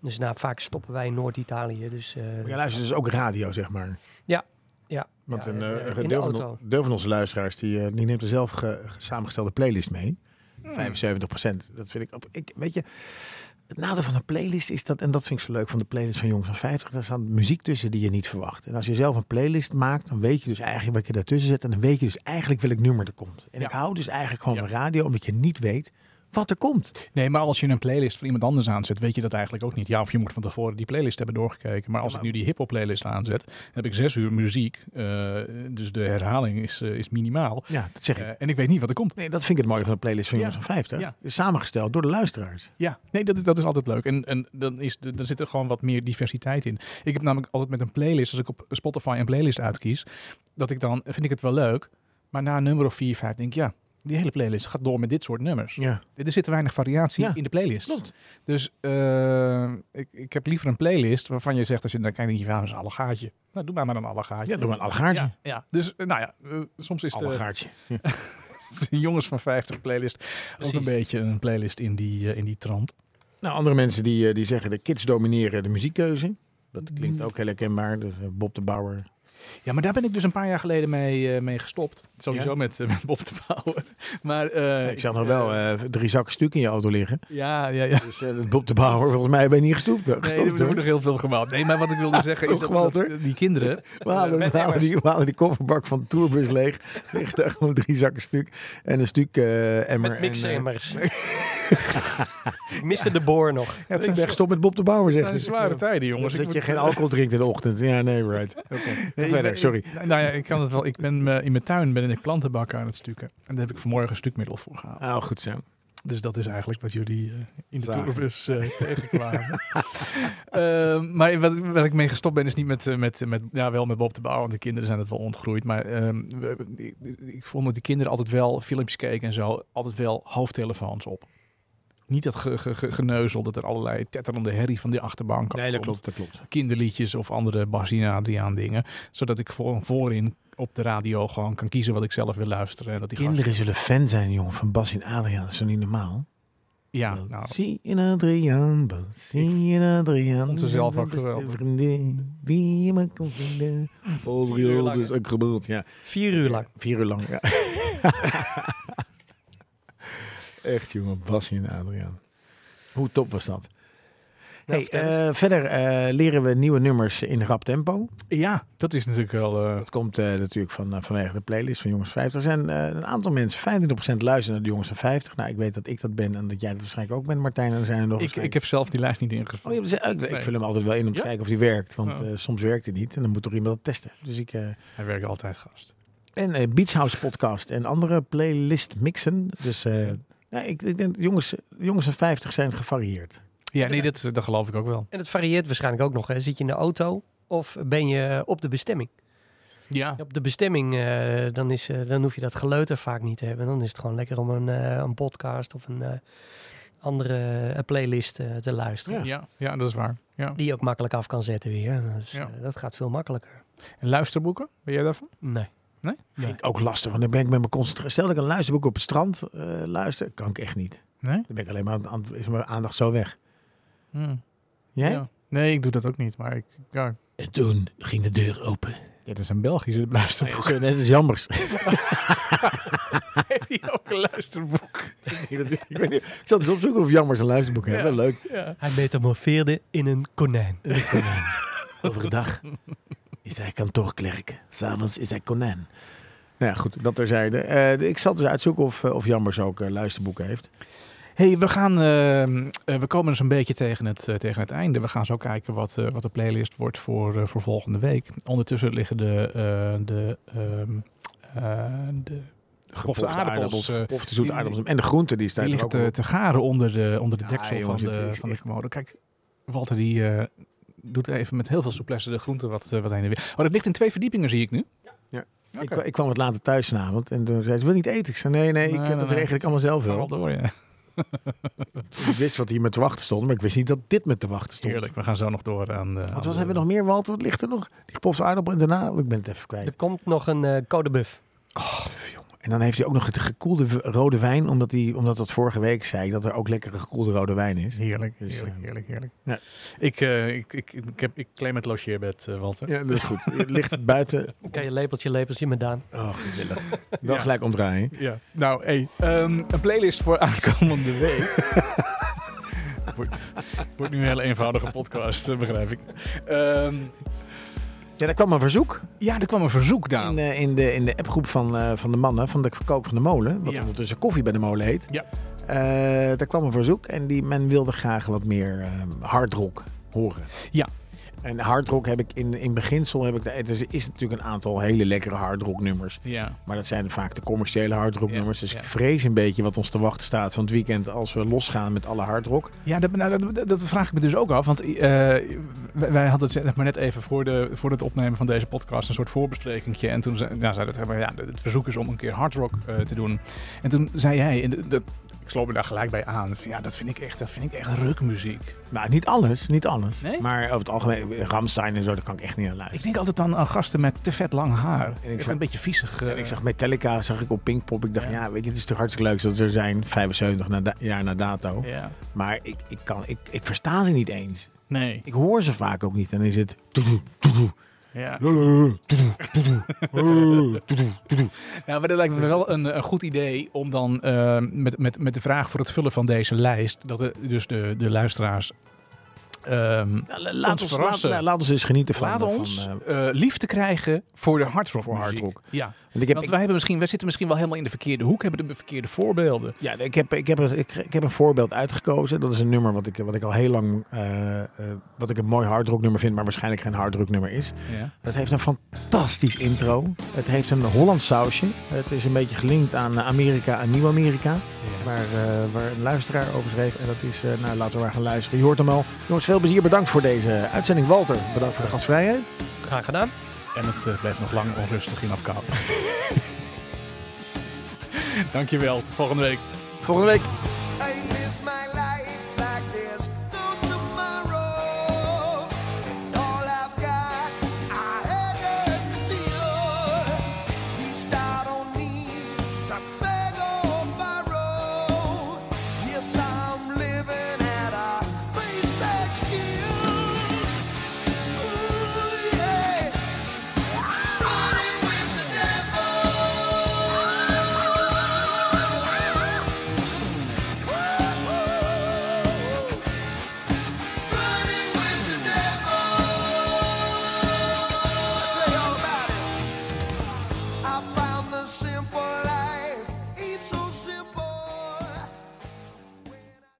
Speaker 3: Dus nou, vaak stoppen wij in Noord-Italië. Dus, eh,
Speaker 1: Maar jij luistert dus ook radio, zeg maar.
Speaker 3: Ja, ja.
Speaker 1: Want
Speaker 3: Ja,
Speaker 1: een,
Speaker 3: in de-
Speaker 1: eh,
Speaker 3: in de
Speaker 1: een deel, van,
Speaker 3: auto.
Speaker 1: on- deel van onze luisteraars die, eh, die neemt een zelf ge- ge- samengestelde playlist mee. 75 Dat vind ik, op, ik. Weet je, het nadeel van een playlist is dat, en dat vind ik zo leuk van de playlist van Jongens van 50, daar staat muziek tussen die je niet verwacht. En als je zelf een playlist maakt, dan weet je dus eigenlijk wat je daartussen zet. En dan weet je dus eigenlijk welk nummer er komt. En
Speaker 2: Ja.
Speaker 1: ik hou dus eigenlijk gewoon
Speaker 2: Ja.
Speaker 1: van radio, omdat je niet weet wat er komt.
Speaker 2: Nee, maar als je een playlist van iemand anders aanzet, weet je dat eigenlijk ook niet. Ja, of je moet van tevoren die playlist hebben doorgekeken. Maar als ik nu die hip-hop playlist aanzet, dan heb ik zes uur muziek. eh, dus de herhaling is, eh, is minimaal.
Speaker 1: Ja, dat zeg ik.
Speaker 2: Eh, en ik weet niet wat er komt.
Speaker 1: Nee, dat vind ik het mooie van de playlist van
Speaker 2: Ja.
Speaker 1: Jongens van 50.
Speaker 2: Ja.
Speaker 1: Is samengesteld door de luisteraars.
Speaker 2: Ja, nee, dat, dat is altijd leuk. En, en dan, is, de- dan zit er gewoon wat meer diversiteit in. Ik heb namelijk altijd met een playlist, als ik op Spotify een playlist uitkies, dat ik dan, vind ik het wel leuk. Maar na een nummer of vier, vijf, denk ik, ja, die hele playlist gaat door met dit soort nummers.
Speaker 1: Ja.
Speaker 2: Er zit te weinig variatie
Speaker 1: Ja,
Speaker 2: in de playlist.
Speaker 1: klopt.
Speaker 2: Dus eh, ik, ik heb liever een playlist waarvan je zegt, als je dan kijkt, denk je, ja, dat is een allegaatje. Nou, doe maar maar een allegaatje.
Speaker 1: Ja, door een allegaartje.
Speaker 2: Ja, ja. dus eh, nou ja, eh, soms is de,
Speaker 1: Allegaartje.
Speaker 2: de jongens van 50 playlist ook
Speaker 3: Precies.
Speaker 2: een beetje een playlist in die, eh, in die trant.
Speaker 1: Nou, andere mensen die, eh, die zeggen de kids domineren de muziekkeuze. Dat klinkt ook heel herkenbaar. Dus eh, Bob de Bauer.
Speaker 2: Ja, maar daar ben ik dus een paar jaar geleden mee, eh, mee gestopt. Sowieso
Speaker 1: Ja?
Speaker 2: met, eh, met Bob te bouwen. Maar, eh,
Speaker 1: ik zag nog wel
Speaker 2: eh,
Speaker 1: eh, drie zakken stuk in je auto liggen.
Speaker 2: ja, ja, ja.
Speaker 1: Dus eh, Bob de Bauer, volgens mij ben je niet gestopt. Nee,
Speaker 2: Nee, er wordt nog heel veel gemald. Nee, maar wat ik wilde zeggen is dat, dat
Speaker 1: Gewalter.
Speaker 2: die kinderen... Eh,
Speaker 1: we, halen, we, halen die, we halen die kofferbak van de tourbus leeg. Liggen daar gewoon drie zakken stuk. En een stuk eh emmer.
Speaker 3: met
Speaker 1: en, eh,
Speaker 3: mixemmers. Ik miste de boor nog.
Speaker 2: Ja, het
Speaker 1: ik
Speaker 2: zijn
Speaker 1: ben gestopt met Bob de Bauer,
Speaker 2: Het
Speaker 1: zegt
Speaker 2: zijn
Speaker 1: hij.
Speaker 2: zware tijden, jongens.
Speaker 1: Dat
Speaker 2: Ik
Speaker 1: je
Speaker 2: moet- Oh,
Speaker 1: geen alcohol drinkt in de ochtend. Ja, nee, right. Oké, ga
Speaker 2: Nee, ik
Speaker 1: verder,
Speaker 2: ben-
Speaker 1: sorry.
Speaker 2: ik- nou ja, ik kan het wel. Ik ben eh, in mijn tuin ben ik plantenbakken aan het stukken. En daar heb ik vanmorgen een stukmiddel voor gehaald.
Speaker 1: Nou, goed zo.
Speaker 2: Dus dat is eigenlijk wat jullie eh, in de
Speaker 1: Zagen.
Speaker 2: tourbus eh, tegenkwamen. Eh, maar wat, waar ik mee gestopt ben is niet met, eh, met, met, ja, wel met Bob de Bouw, want de kinderen zijn het wel ontgroeid. Maar ehm, we- ik, ik vond dat die kinderen altijd wel filmpjes keken en zo, altijd wel hoofdtelefoons op. Niet dat ge, ge- ge- geneuzel dat er allerlei tetterende herrie van die achterbank
Speaker 1: Nee, dat
Speaker 2: afkomt
Speaker 1: klopt, dat klopt.
Speaker 2: kinderliedjes of andere Basina Adriaan dingen. Zodat ik voor, voorin op de radio gewoon kan kiezen wat ik zelf wil luisteren. En dat die
Speaker 1: Kinderen zullen fan zijn, jongen, van Bas en Adriaan. Dat is toch niet normaal?
Speaker 2: Gast, ja,
Speaker 1: Bas
Speaker 2: nou,
Speaker 1: in Adriaan, Bas in Adriaan.
Speaker 2: vond ze zelf ook
Speaker 1: Dat is de
Speaker 2: geweldig.
Speaker 1: vriendin die me kon vinden.
Speaker 3: uur lang, hè?
Speaker 1: ook gebeld, ja.
Speaker 3: Vier uur lang.
Speaker 1: Vier uur lang, ja. Echt, jongen, Bas in Adriaan. Hoe top was dat? Hey,
Speaker 3: Nou, vertel eens.
Speaker 1: eh, verder eh, leren we nieuwe nummers in rap tempo.
Speaker 2: ja, dat is natuurlijk wel... eh,
Speaker 1: Dat komt eh, natuurlijk van, eh, vanwege de playlist van Jongens 50. Er zijn eh, een aantal mensen, 25% luisteren naar de Jongens van 50. Nou, ik weet dat ik dat ben en dat jij dat waarschijnlijk ook bent, Martijn. En er zijn er nog
Speaker 2: ik, ik heb zelf die lijst niet ingevuld.
Speaker 1: Oh, je hebt ze- ik, ik
Speaker 2: Nee.
Speaker 1: vul hem altijd wel in om te
Speaker 2: Ja?
Speaker 1: kijken of die werkt. Want
Speaker 2: Oh.
Speaker 1: eh, soms werkt hij niet en dan moet toch iemand dat testen. Dus ik, eh,
Speaker 2: Hij werkt altijd gast.
Speaker 1: en eh Beach House podcast en andere playlist mixen. Dus eh, nou, ik, ik denk, jongens, jongens van 50 zijn gevarieerd.
Speaker 2: Ja, nee, dat, dat geloof ik ook wel.
Speaker 3: En het varieert waarschijnlijk ook nog. Hè. Zit je in de auto of ben je op de bestemming?
Speaker 2: Ja.
Speaker 3: Op de bestemming, eh, dan, is, eh, dan hoef je dat geleuter vaak niet te hebben. Dan is het gewoon lekker om een, eh, een podcast of een eh, andere eh, playlist eh, te luisteren.
Speaker 1: Ja.
Speaker 2: Ja, ja, dat is waar. Ja.
Speaker 3: Die je ook makkelijk af kan zetten weer. En Dat, is,
Speaker 2: Ja.
Speaker 3: eh, dat gaat veel makkelijker.
Speaker 2: En luisterboeken, ben jij daarvan?
Speaker 3: Nee.
Speaker 1: Vind ik ook lastig, want dan ben ik met mijn concentratie. Stel dat ik een luisterboek op het strand eh, luister, kan ik echt niet.
Speaker 2: Nee?
Speaker 1: Dan ben ik alleen maar aan, aan- is mijn aandacht zo weg.
Speaker 2: Hm.
Speaker 1: Jij?
Speaker 2: Ja. Nee, ik doe dat ook niet. Maar ik, ja.
Speaker 1: En toen ging de deur open.
Speaker 2: dit is een Belgische luisterboek.
Speaker 1: Zo, net is jammers.
Speaker 2: Heeft hij ook een luisterboek?
Speaker 1: ik, weet niet, ik zal eens opzoeken of jammers een luisterboek hebben.
Speaker 2: Ja.
Speaker 1: Wel leuk.
Speaker 2: Ja.
Speaker 3: Hij metamorfeerde in een konijn.
Speaker 1: Konijn. Overdag is hij kantoorklerk. S'avonds is hij konijn. Nou ja, goed, dat terzijde. Eh, ik zal dus uitzoeken of, eh, of Jambers ook eh, luisterboeken heeft.
Speaker 2: hey, we, gaan, eh, eh, we komen dus een beetje tegen het, eh, tegen het einde. We gaan zo kijken wat, eh, wat de playlist wordt voor, eh, voor volgende week. Ondertussen liggen de, eh de, ehm, eh, de gepofte aardappels... eh,
Speaker 1: Gepofte zoete
Speaker 2: die-
Speaker 1: aardappels. En de groenten die staan
Speaker 2: die
Speaker 1: er
Speaker 2: ligt
Speaker 1: ook
Speaker 2: te,
Speaker 1: op.
Speaker 2: te garen onder de, onder de
Speaker 1: Ja,
Speaker 2: deksel
Speaker 1: jongens,
Speaker 2: van,
Speaker 1: het
Speaker 2: de,
Speaker 1: is
Speaker 2: van de
Speaker 1: echt-
Speaker 2: commode. Kijk, Walter die eh, doet even met heel veel souplesse de groenten wat, eh, wat heen en weer. Oh, dat ligt in twee verdiepingen, zie ik nu.
Speaker 1: Ja.
Speaker 2: Oké.
Speaker 1: Ik, kwa- ik kwam wat later thuis vanavond en toen zei ze, wil je niet eten? Ik zei, nee, nee, ik,
Speaker 2: Nee,
Speaker 1: eh,
Speaker 2: nee,
Speaker 1: dat
Speaker 2: nee.
Speaker 1: regel ik allemaal zelf
Speaker 2: Ga
Speaker 1: wel.
Speaker 2: wel door, ja.
Speaker 1: Ik wist wat hier me te wachten stond, maar ik wist niet dat dit me te wachten stond.
Speaker 2: Heerlijk, we gaan zo nog door aan... eh, aan
Speaker 1: Want wat
Speaker 2: de-
Speaker 1: hebben we nog meer, Walter? Wat ligt er nog? Die gepofte aardappel en daarna, oh, ik ben het even
Speaker 3: Er
Speaker 1: kwijt.
Speaker 3: komt nog een eh, codebuff.
Speaker 1: En dan heeft hij ook nog het gekoelde w- rode wijn, omdat, die, omdat dat vorige week zei ik, dat er ook lekkere gekoelde rode wijn is.
Speaker 2: Heerlijk,
Speaker 1: Dus,
Speaker 2: heerlijk,
Speaker 1: eh,
Speaker 2: heerlijk, heerlijk.
Speaker 1: ja.
Speaker 2: Ik, eh, ik, ik, ik, heb, ik claim het logeerbed, eh, Walter.
Speaker 1: Ja, dat is goed. Ligt het buiten?
Speaker 3: Dan kan je lepeltje, lepeltje met Daan.
Speaker 1: Oh, gezellig. Dan
Speaker 2: Ja.
Speaker 1: gelijk omdraaien.
Speaker 2: Ja. Nou, hey, ehm, een playlist voor aankomende week. wordt, wordt nu een hele eenvoudige podcast, eh, begrijp ik. Ehm,
Speaker 1: Ja, daar kwam een verzoek
Speaker 2: ja, er kwam een verzoek, Daan.
Speaker 1: in, eh, in de, in de appgroep van, eh, van de mannen, van de verkoop van de molen, wat
Speaker 2: Ja.
Speaker 1: ondertussen koffie bij de molen heet.
Speaker 2: Ja.
Speaker 1: Eh, daar kwam een verzoek en die, men wilde graag wat meer eh, hard rock horen.
Speaker 2: Ja.
Speaker 1: En hard rock heb ik in, in beginsel, heb ik, daar- er is natuurlijk een aantal hele lekkere hard rock nummers.
Speaker 2: Ja.
Speaker 1: Maar dat zijn vaak de commerciële hardrock nummers.
Speaker 2: Ja,
Speaker 1: Dus ik
Speaker 2: ja.
Speaker 1: vrees een beetje wat ons te wachten staat van het weekend als we losgaan met alle hardrock.
Speaker 2: Ja, dat, nou, dat- dat, dat vraag ik me dus ook af. Want eh, wij, wij hadden het zeg maar net even voor, de, voor het opnemen van deze podcast een soort voorbesprekingje. En toen zei, nou, zei dat, maar ja, het verzoek is om een keer hardrock eh, te doen. En toen zei jij, en dat, ik sloot me daar gelijk bij aan. van, Ja, dat vind ik echt, dat vind ik echt rukmuziek.
Speaker 1: Nou, niet alles, niet alles.
Speaker 2: Nee?
Speaker 1: Maar over het algemeen, Ramstein en zo, daar kan ik echt niet aan
Speaker 2: Ik
Speaker 1: luisteren.
Speaker 2: denk altijd aan, aan gasten met te vet lang haar.
Speaker 1: ik
Speaker 2: Echt
Speaker 1: zag-
Speaker 2: een beetje viezig. eh,
Speaker 1: En ik zag Metallica, zag ik op Pinkpop. Ik dacht,
Speaker 2: Ja.
Speaker 1: ja, weet je, het is toch hartstikke leuk dat ze er zijn, 75 na da- jaar na dato.
Speaker 2: Ja.
Speaker 1: Maar ik, ik, kan, ik, ik versta ze niet eens.
Speaker 2: Nee.
Speaker 1: Ik hoor ze vaak ook niet. Dan is het... Ja,
Speaker 2: Ja. Nou, maar dat lijkt me wel een, een goed idee om dan eh, met, met, met de vraag voor het vullen van deze lijst, dat er dus de, de luisteraars. ehm,
Speaker 1: Laat ons, laat,
Speaker 2: verrassen.
Speaker 1: laat ons eens genieten van...
Speaker 2: laten
Speaker 1: van,
Speaker 2: ons
Speaker 1: eh,
Speaker 2: eh, liefde krijgen voor de hardrock.
Speaker 1: voor
Speaker 2: muziek.
Speaker 1: hardrock.
Speaker 2: Ja,
Speaker 1: want ik heb,
Speaker 2: want wij, hebben misschien, wij zitten misschien wel helemaal in de verkeerde hoek, hebben de verkeerde voorbeelden.
Speaker 1: Ja, ik heb, ik, heb, een- ik, ik heb een voorbeeld uitgekozen. Dat is een nummer wat ik, wat ik al heel lang. eh, eh, wat ik een mooi hardrocknummer vind, maar waarschijnlijk geen hardrocknummer is.
Speaker 2: Ja.
Speaker 1: Het heeft een fantastisch intro. Het heeft een Hollands sausje. Het is een beetje gelinkt aan eh, Amerika, aan Nieuw-Amerika. Waar, eh, waar een luisteraar over schreef. En dat is. eh, nou, laten we maar gaan luisteren. Je hoort hem al. Jongens, veel plezier. Bedankt voor deze uitzending. Walter, bedankt voor de gastvrijheid.
Speaker 3: Graag gedaan.
Speaker 2: En het eh, blijft nog lang onrustig in Afghaan. Dankjewel, tot volgende week.
Speaker 1: Volgende week.
Speaker 5: Amen.